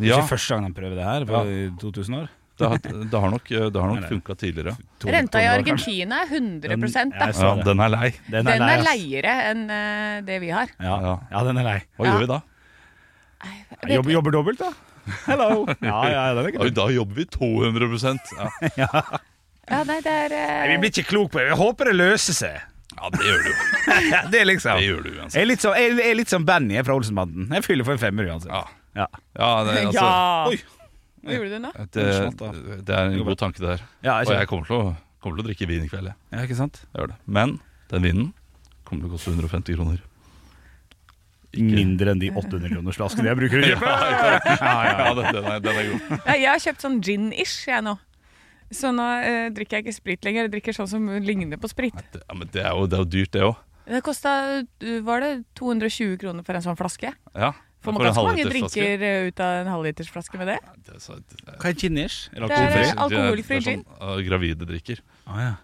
Det er Ja. ikke første gang han prøver det her på Ja. 2000 år. Det har, det har nok, eh, det har nok Nei, nei. funka tidligere. Renta i Argentina er 100 da. Sånn, Ja, den er lei. Den er, leiere enn eh, det vi har. Ja. den er lei. Hva Ja. gjør vi da? Jobber, jobber dobbelt, da. Hello. Ja, ja, den er ikke Oi, Da jobber vi 200 ja. Ja, nei, det er eh, Nei, vi blir ikke klok på det. Vi håper det løser seg. (laughs) ja, det gjør du. det er liksom Det gjør du uansett. Jeg er litt som, jeg er litt som Benny fra Olsenbanden. Jeg fyller for en femmer uansett. Ja. Ja. det, altså, eh, Ja! Oi. Hva gjorde du nå? Det, det er en god tanke, det der. Ja, jeg og skjønner. jeg kommer til, å, kommer til å drikke vin i kveld. jeg. Ja, ikke sant? Jeg gjør det. Men den vinen kommer til å koste 150 kroner. Mindre enn de 800 kroners flaskene jeg bruker å (laughs) kjøpe. Ja, ja, den, den, er, den er god. Nei, jeg har kjøpt sånn gin-ish, jeg nå. Så nå eh, drikker jeg ikke sprit lenger. Jeg drikker sånn som ligner på sprit. Det, ja, men det er jo, det er jo dyrt, det òg. eh, Det kosta Var det 220 kroner for en sånn flaske? Ja. får Får man en ganske mange halvlitersflaske. drinker eh, ut av en halvlitersflaske med det? Hva er ginish? Det er eh, alkoholfri gin. Sånn, eh, gravide drikker. (laughs) Ingen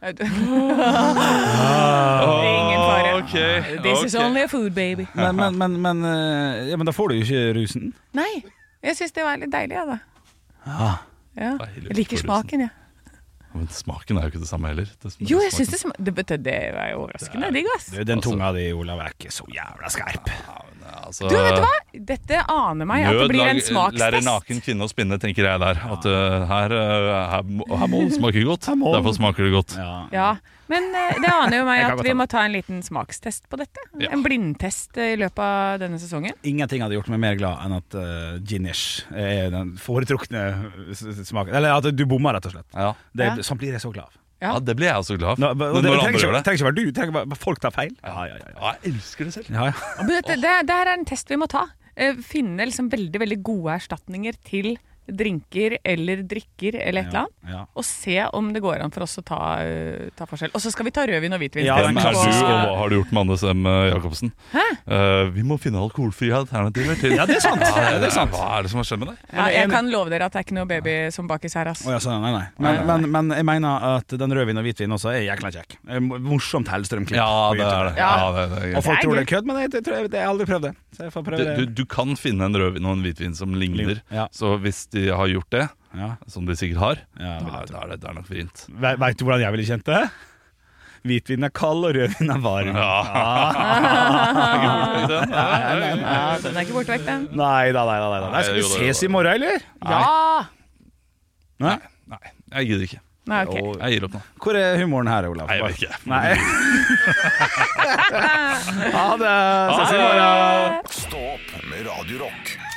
fare. ok, This is ok. only a food baby. Men, men, men, men, eh, ja, men da får du jo ikke rusen. Nei, jeg syns det var litt deilig, jeg, da. Ah. Ja. Deilig Jeg liker for smaken, jeg. Men smaken er jo ikke det samme heller. Det smaker- Jo, jeg syns det smaker det, det, det er jo overraskende digg, ass. Du, Den tunga di, Olav, er ikke så jævla skarp. altså, Du, vet du hva? Dette aner meg at det nød blir en lag- Lærer smakstest. naken kvinne å spinne, tenker jeg der. At eh, her, eh, her, må- her må det smake godt. Derfor smaker det godt. Ja, Men eh, det aner jo meg Jeg kan at godt vi ta må ta en liten smakstest på dette. Ja. En blindtest eh, i løpet av denne sesongen. Ingenting hadde gjort meg mer glad enn at uh, ginish er den foretrukne s- s- smaken. Eller at du bomma, rett og slett. Det, Ja. Sånn blir jeg så glad av. Ja, Ja. det blir jeg også glad for. Og Når det, det andre trenger ikke, gjør det trenger ikke være du, det trenger bare folk tar feil. Ja, ja, ja, ja. Jeg elsker det selv. Ja, ja. Men dette, det, det her er en test vi må ta. Eh, Finne liksom veldig veldig gode erstatninger til drinker eller drikker eller et eller annet. Ja. Og se om det går an for oss å ta, eh, ta forskjell. Og så skal vi ta rødvin og hvitvin. Hvem er Skal du, vi få- og hva har du gjort med Anne Sem eh, Jacobsen? Eh, vi må finne alkoholfrie alternativer til Ja, det er sant. Ja, Det er sant. Hva er det som har skjedd med deg? ja, jeg kan love dere at det er ikke noe baby som bakes her, ass. Å ja, (laughs) sånn, nei, nei. Men, Men, men jeg mener at den rødvin og hvitvin også er jækla kjekk. Eh, Morsomt Hellstrøm-klipp. Ja, på det YouTube. er det. Ja, det er det. Og Det folk er tror det er kødd, men jeg, jeg, tror jeg, jeg har aldri prøvd det. Så jeg får prøve Du, det. du, du kan finne en rødvin og en hvitvin som ligner. Så hvis de har gjort det, som de sikkert har, da, er- da er det, det er nok vrient. Ve- Vet du hvordan jeg ville kjent det? Hvitvin er kald, og rødvin er varm. (laughs) Ah. Nei, nei, nei. (laughs) Ja, den er ikke borte vekk, den. Nei da, nei da. nei da. Nei, Skal Nei, vi jo da, jo ses i morgen, eller? Ja! Nei? Jeg gidder ikke. Nei, ok. Og- Jeg gir opp nå. Hvor er humoren her, Olav? Nei, jeg vet ikke. Nei. (laughs) ha det. Ses i Ha morgen. Stå opp med Radio Rock.